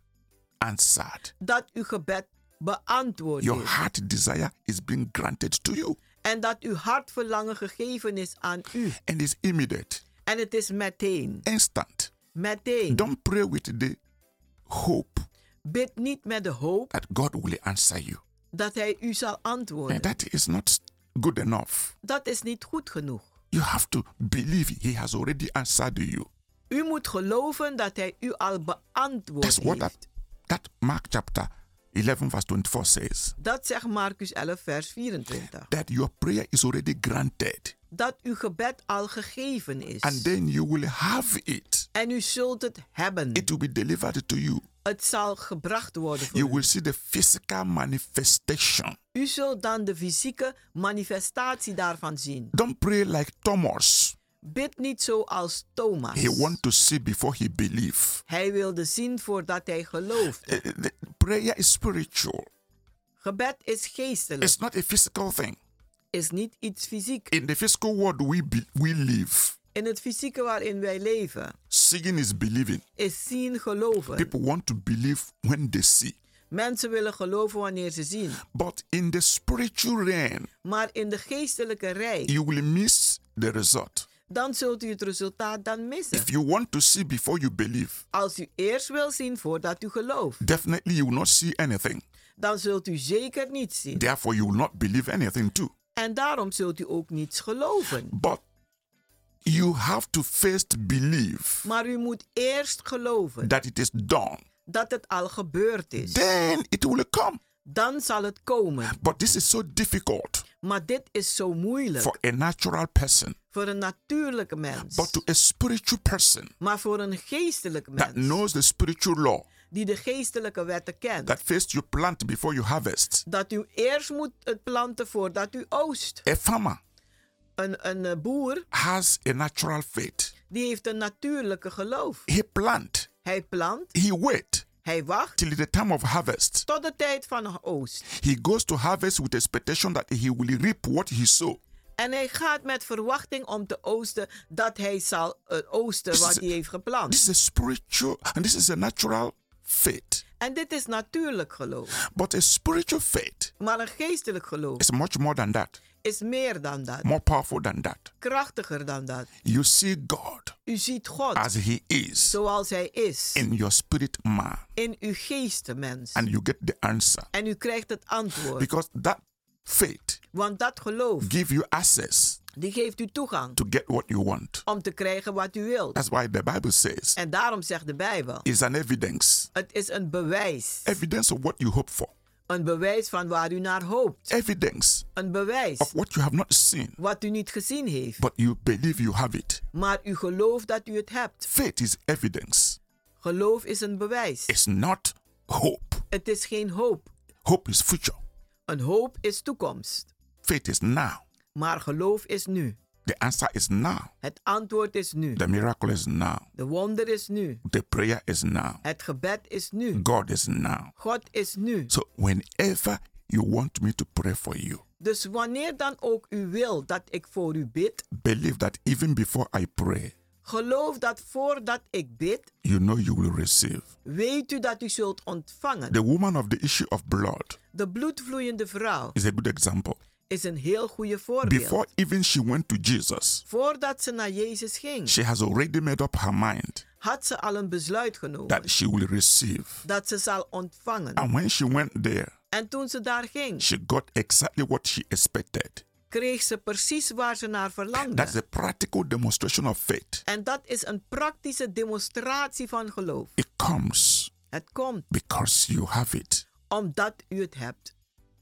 Speaker 8: answered.
Speaker 9: dat uw gebed beantwoord
Speaker 8: Your
Speaker 9: is.
Speaker 8: heart desire is being granted to you
Speaker 9: En dat uw hartverlangen gegeven is aan u.
Speaker 8: and is immediate,
Speaker 9: En het is meteen.
Speaker 8: instant.
Speaker 9: Meteen.
Speaker 8: Don't pray with the hope
Speaker 9: Bid niet met de hoop
Speaker 8: that God will answer you.
Speaker 9: dat hij u zal
Speaker 8: And
Speaker 9: antwoorden.
Speaker 8: that is not good enough.
Speaker 9: Dat is niet goed genoeg.
Speaker 8: You have to believe He has already answered you.
Speaker 9: U moet geloven dat hij u al beantwoord
Speaker 8: That's what that,
Speaker 9: heeft.
Speaker 8: that Mark chapter 11, verse 24 says
Speaker 9: Dat zegt Marcus 11, vers 24.
Speaker 8: that your prayer is already granted.
Speaker 9: Dat uw gebed al gegeven is.
Speaker 8: and then you will have it.
Speaker 9: En u zult het hebben.
Speaker 8: It will be delivered to you.
Speaker 9: Het zal gebracht worden voor
Speaker 8: You
Speaker 9: u.
Speaker 8: will see the physical manifestation.
Speaker 9: U zult dan de fysieke manifestatie daarvan zien.
Speaker 8: Don't pray like Thomas
Speaker 9: Bid niet zo als Thomas.
Speaker 8: He want to see before he believe.
Speaker 9: Hij wilde zien voordat hij geloofde.
Speaker 8: Eh, the prayer is spiritual.
Speaker 9: Gebed is geestelijk,
Speaker 8: It's not a physical thing.
Speaker 9: is niet iets fysiek.
Speaker 8: In the physical world we be, we live.
Speaker 9: In het fysieke waarin wij leven
Speaker 8: Seeing is believing.
Speaker 9: is zien geloven.
Speaker 8: People want to believe when they see.
Speaker 9: Mensen willen geloven wanneer ze zien.
Speaker 8: But in the spiritual realm,
Speaker 9: Maar in de geestelijke rij,
Speaker 8: you will miss the result.
Speaker 9: dan zult u het resultaat dan missen.
Speaker 8: If you want to see before you believe,
Speaker 9: Als u eerst wil zien voordat u gelooft,
Speaker 8: definitely you will not see anything.
Speaker 9: dan zult u zeker niets zien.
Speaker 8: Therefore, you will not believe anything too.
Speaker 9: En daarom zult u ook niets geloven.
Speaker 8: But you have to first believe
Speaker 9: Maar u moet eerst geloven
Speaker 8: that it is done.
Speaker 9: dat het al gebeurd is.
Speaker 8: Then it will come.
Speaker 9: Dan zal het komen.
Speaker 8: But this is so difficult
Speaker 9: Maar dit is zo
Speaker 8: for
Speaker 9: moeilijk
Speaker 8: a natural person.
Speaker 9: voor een natuurlijke
Speaker 8: But
Speaker 9: mens.
Speaker 8: to a spiritual person
Speaker 9: Maar voor een geestelijke
Speaker 8: that
Speaker 9: mens
Speaker 8: knows the spiritual law,
Speaker 9: die de geestelijke wetten
Speaker 8: that
Speaker 9: kent,
Speaker 8: first you plant before you harvest,
Speaker 9: dat u eerst moet het planten voordat u oost.
Speaker 8: a farmer
Speaker 9: Een, een eh, boer
Speaker 8: has a natural faith.
Speaker 9: die heeft een natuurlijke geloof.
Speaker 8: He plant,
Speaker 9: Hij plant,
Speaker 8: he wait
Speaker 9: hij wacht
Speaker 8: till the time of harvest.
Speaker 9: tot de tijd van oost.
Speaker 8: He goes to harvest with expectation that he will reap what he sow.
Speaker 9: En hij gaat met verwachting om te oosten dat hij zal eh,
Speaker 8: Dus
Speaker 9: oosten wat hij heeft geplant.
Speaker 8: This is a spiritual and this is a natural faith.
Speaker 9: En dit is natuurlijk geloof.
Speaker 8: But a spiritual faith
Speaker 9: Maar een geestelijk geloof
Speaker 8: is much more than that,
Speaker 9: is meer dan dat,
Speaker 8: more powerful than that.
Speaker 9: krachtiger dan dat.
Speaker 8: You see God
Speaker 9: U ziet God
Speaker 8: as he is
Speaker 9: zoals hij is
Speaker 8: in your spirit man
Speaker 9: in uw geestenmens.
Speaker 8: and you get the answer
Speaker 9: En u krijgt het antwoord.
Speaker 8: because that faith
Speaker 9: Want dat geloof,
Speaker 8: give you access
Speaker 9: die geeft u toegang
Speaker 8: to get what you want.
Speaker 9: om te krijgen wat u wilt.
Speaker 8: That's why the Bible says
Speaker 9: En daarom zegt de Bijbel,
Speaker 8: it's an evidence,
Speaker 9: het is een bewijs.
Speaker 8: evidence of what you hope for,
Speaker 9: Een bewijs van waar u naar hoopt.
Speaker 8: evidence
Speaker 9: Een bewijs
Speaker 8: Eh- of what you have not seen
Speaker 9: wat u niet gezien heeft.
Speaker 8: but you believe you have it.
Speaker 9: Maar u gelooft dat u het hebt.
Speaker 8: Faith is evidence.
Speaker 9: Geloof is een bewijs.
Speaker 8: It's not hope.
Speaker 9: Het is geen hoop.
Speaker 8: Hope is future.
Speaker 9: Een hoop is toekomst.
Speaker 8: Faith is now.
Speaker 9: Maar geloof is nu.
Speaker 8: The answer is now.
Speaker 9: Het antwoord is nu.
Speaker 8: The miracle is now.
Speaker 9: De wonder is nu.
Speaker 8: The prayer is now.
Speaker 9: Het gebed is nu.
Speaker 8: God is now.
Speaker 9: God is nu.
Speaker 8: So whenever you want me to pray for you,
Speaker 9: Dus wanneer dan ook u wil dat ik voor u bid,
Speaker 8: believe that even before I pray,
Speaker 9: geloof dat voordat ik bid,
Speaker 8: you know you will receive.
Speaker 9: weet u dat u zult ontvangen.
Speaker 8: The woman of the issue of blood
Speaker 9: De bloedvloeiende vrouw
Speaker 8: is a good example.
Speaker 9: is een heel goede voorbeeld.
Speaker 8: Before even she went to Jesus,
Speaker 9: Voordat ze naar Jezus ging,
Speaker 8: she has already made up her mind
Speaker 9: had ze al een besluit genomen
Speaker 8: that she will receive.
Speaker 9: dat ze zal ontvangen.
Speaker 8: And when she went there,
Speaker 9: En toen ze daar ging,
Speaker 8: she got exactly what she expected.
Speaker 9: kreeg ze precies waar ze naar
Speaker 8: That's
Speaker 9: verlangde.
Speaker 8: a practical demonstration of faith.
Speaker 9: En dat is een praktische demonstratie van geloof.
Speaker 8: It comes
Speaker 9: Het komt
Speaker 8: because you have it.
Speaker 9: omdat u het hebt.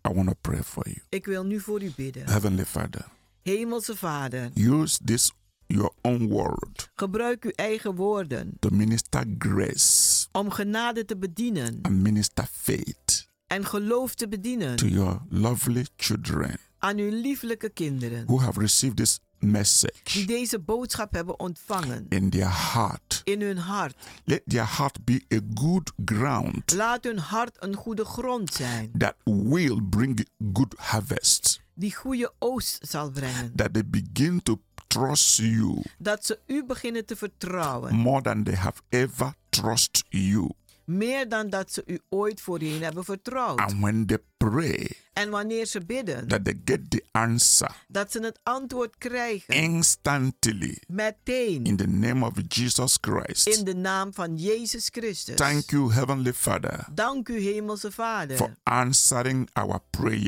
Speaker 8: I want to pray for you.
Speaker 9: Ik wil nu voor u bidden.
Speaker 8: Heavenly Father,
Speaker 9: Hemelse Vader,
Speaker 8: use this your own word
Speaker 9: gebruik uw eigen woorden
Speaker 8: to minister grace
Speaker 9: om genade te bedienen
Speaker 8: and minister faith
Speaker 9: en geloof te
Speaker 8: to
Speaker 9: bedienen
Speaker 8: your lovely children
Speaker 9: aan uw lieflijke kinderen
Speaker 8: who have received this
Speaker 9: die
Speaker 8: message
Speaker 9: deze boodschap hebben ontvangen
Speaker 8: in their heart.
Speaker 9: in hun hart.
Speaker 8: Let their heart be a good ground
Speaker 9: Laat hun hart een goede grond zijn
Speaker 8: that will bring good harvest,
Speaker 9: die goede oost zal brengen.
Speaker 8: that they begin to trust you
Speaker 9: Dat ze u beginnen te vertrouwen
Speaker 8: more than they have ever trust you.
Speaker 9: Mm. meer dan dat ze u ooit voorheen hebben vertrouwd.
Speaker 8: And when they pray,
Speaker 9: En wanneer ze bidden,
Speaker 8: that they get the answer
Speaker 9: dat ze het antwoord krijgen
Speaker 8: instantly in
Speaker 9: meteen
Speaker 8: the name of Jesus Christ.
Speaker 9: in de naam van Jezus Christus.
Speaker 8: Thank you, Heavenly Father,
Speaker 9: Dank u, Hemelse
Speaker 8: for
Speaker 9: Vader,
Speaker 8: answering our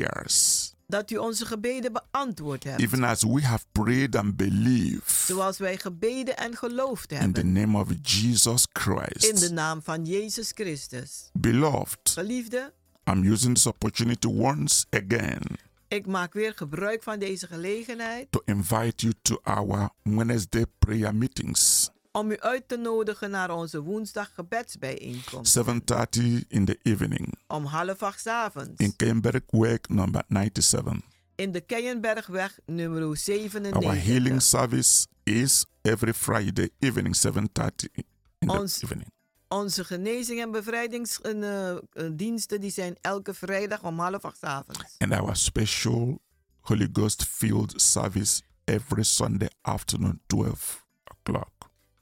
Speaker 8: prayers.
Speaker 9: dat u onze gebeden beantwoord hebt.
Speaker 8: Even as we have prayed and believed
Speaker 9: Zoals wij gebeden en geloofd
Speaker 8: in the
Speaker 9: hebben.
Speaker 8: name of Jesus
Speaker 9: In de
Speaker 8: Christ.
Speaker 9: naam van Jezus Christus.
Speaker 8: Beloved,
Speaker 9: Geliefde,
Speaker 8: I'm using this opportunity once again
Speaker 9: ik maak weer gebruik van deze gelegenheid
Speaker 8: to invite you to our Wednesday prayer meetings,
Speaker 9: om u uit te nodigen naar onze woensdag gebedsbijeenkomst
Speaker 8: 7:30 in the evening
Speaker 9: om half acht 's avonds
Speaker 8: in Cambridge Work number 97.
Speaker 9: in de Keienbergweg nummer
Speaker 8: Our
Speaker 9: 97.
Speaker 8: healing service is every Friday evening, 7.30 in the
Speaker 9: Ons-
Speaker 8: evening.
Speaker 9: Onze genezing- en bevrijdingsdiensten die zijn elke vrijdag om half acht 's avonds.
Speaker 8: And our special Holy Ghost filled service every Sunday afternoon, 12 o'clock.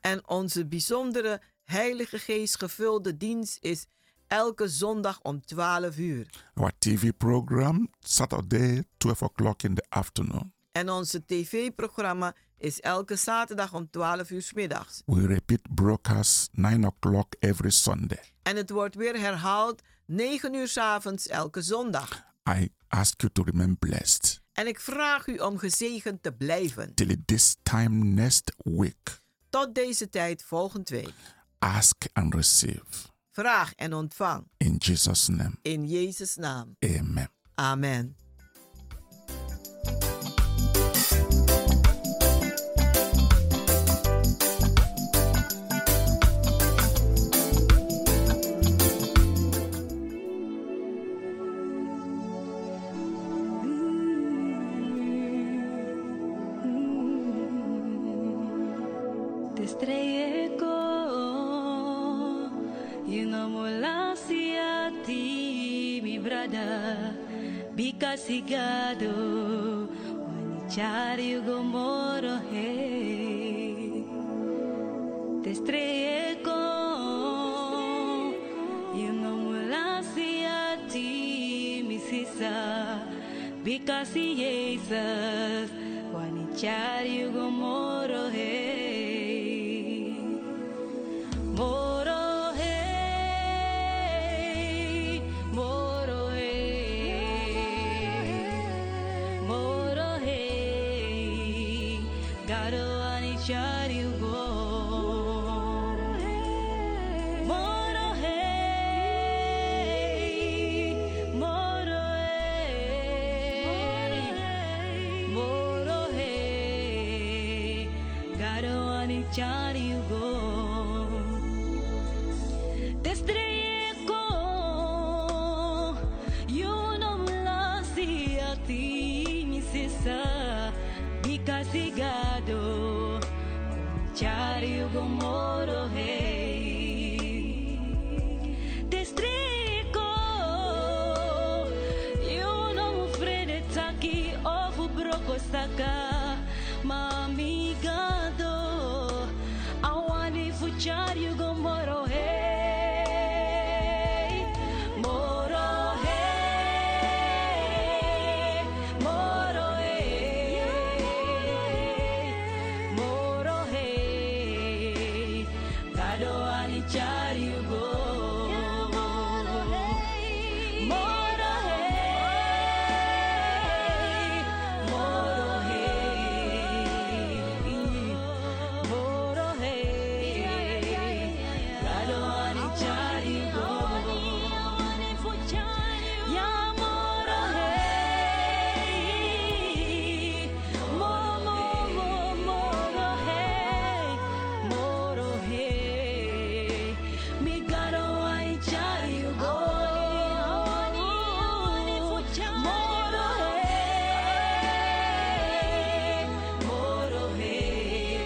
Speaker 9: En onze bijzondere Heilige Geest gevulde dienst is elke zondag om 12 uur.
Speaker 8: Our TV program, Saturday, 12 o'clock in the afternoon.
Speaker 9: En onze tv-programma is elke zaterdag om 12 uur 's middags.
Speaker 8: We repeat broadcast 9 o'clock every Sunday.
Speaker 9: En het wordt weer herhaald 9 uur 's avonds elke zondag.
Speaker 8: I ask you to remain blessed
Speaker 9: En ik vraag u om gezegend te blijven.
Speaker 8: till this time next week.
Speaker 9: Tot deze tijd volgende week.
Speaker 8: Ask and receive.
Speaker 9: Vraag en ontvang.
Speaker 8: In Jesus' name,
Speaker 9: In Jezus' naam.
Speaker 8: amen.
Speaker 9: Amen.
Speaker 10: Mm-hmm. Te estrellé mula si hati mi brada Bika sigado Mencari gomoro he Te estrellé mula si hati mi sisa Bika si Jesus Wanichari gomoro he Moro hey, moro hey, moro hey. Garo anichari ugo. Moro hey, moro hey, moro hey. Garo anichari ugo. Te estrellé con y uno me a ti mi sisa mi castigado chari gomoro hey te estrico eu não ofrede taki ovo broco saca mamigado awani fuchari gomoro hey moro hey moro hey moro hey Kado ani chari you go. Moro hey, moro hey, moro hey. Kado ani chari you go. Ya moro hey, moro moro moro hey. Moro hey, mi caro ai chari ugo. Moro hey, moro hey.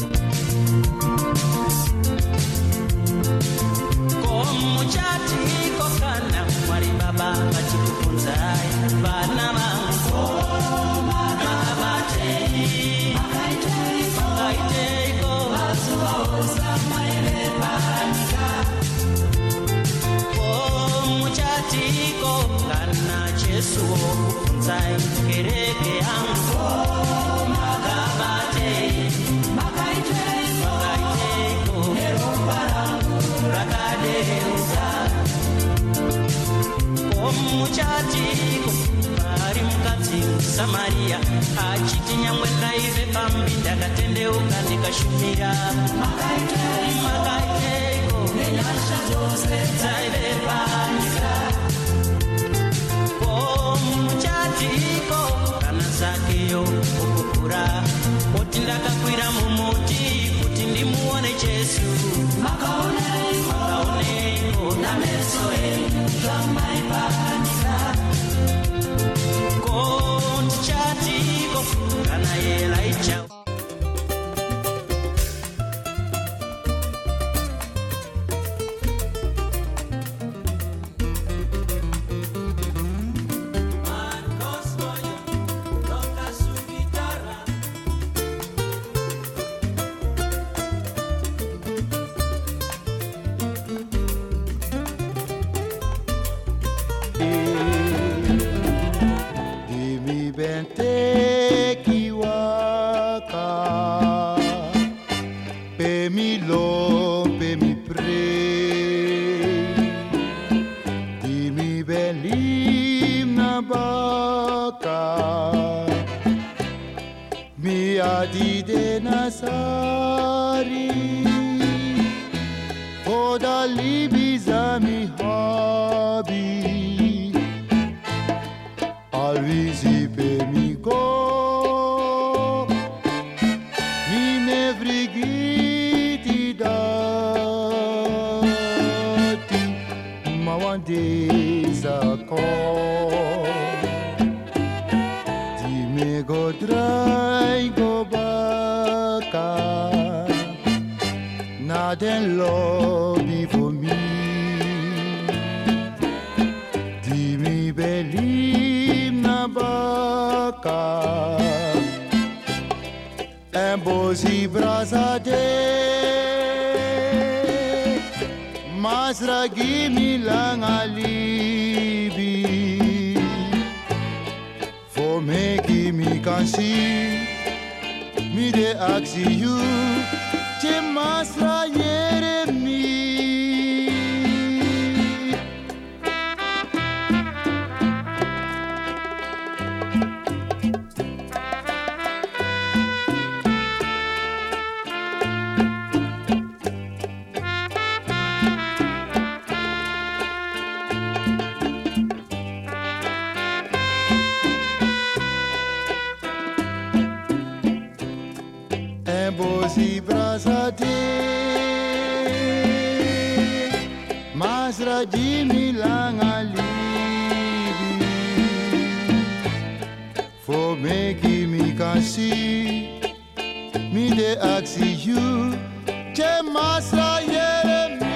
Speaker 11: Omuchati ko kana sakeyo
Speaker 12: mvura poti ndakakwira mumuti kuti ndimuone jesu makaoneiko nameso enyu zvamaipanika kontichatiko kana yelaichao
Speaker 3: Imi bente kiwaka Pe mi lo, pe mi pre Dimi ben lim na baka Mi adide nasari Oda libi zami habi Alvizi pe mico Mi ne vrigiti dati Ma wandi zako Di me go drai go baka Na den lo mi for me Dimi belim na baka Embozi brazade Masragi milang alibi For making me can see Me de aksi you Te masra yeremi Embosi brasate Masra di Milan alibi For making me can see Me de aksi you Che masra yeremi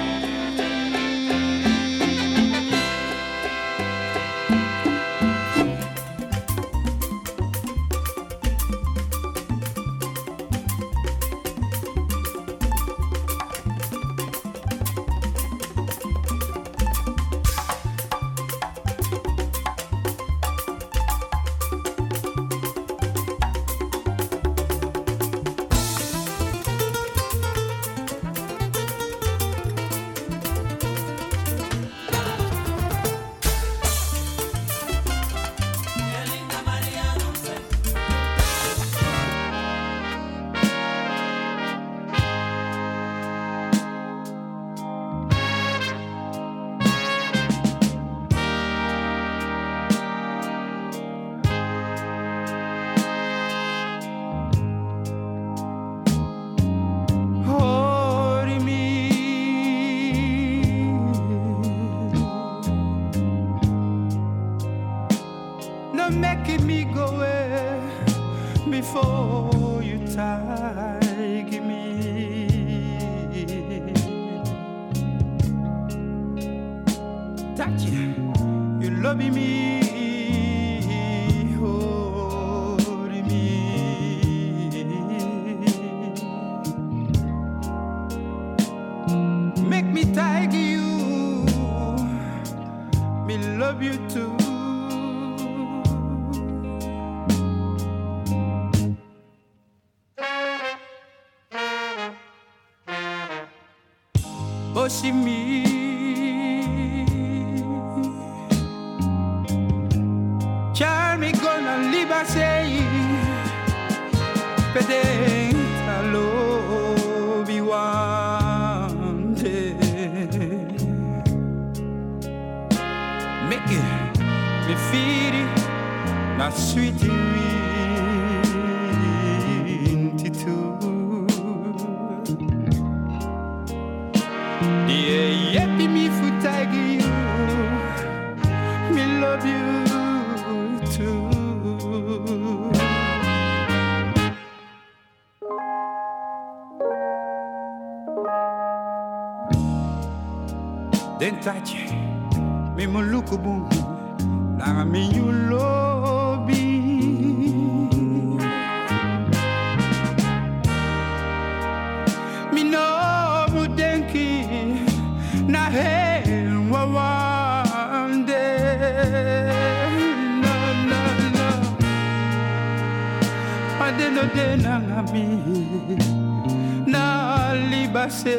Speaker 13: Hoor me. No make me go away before you take me. Touch you, you love me. Hold me. Make me tag you. Me love you too. Oshimi. Charm me gonna leave I say. Pedent love you one day. Make it me feel it, my sweetie. Tentatie, mi muluku bungu, langa mi yulobi. Mi no mudenki, na he wawande. No, no, no. Adeno de nanga mi na libase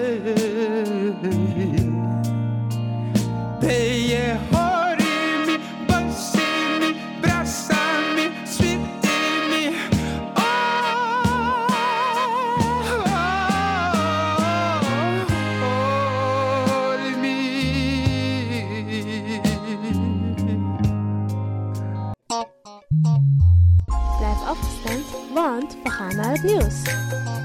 Speaker 13: Peye hori mi, bosi mi, brasa mi, switi mi Oh, oh, oh, hold me
Speaker 14: Blijf afgestemd, want we gaan naar het nieuws.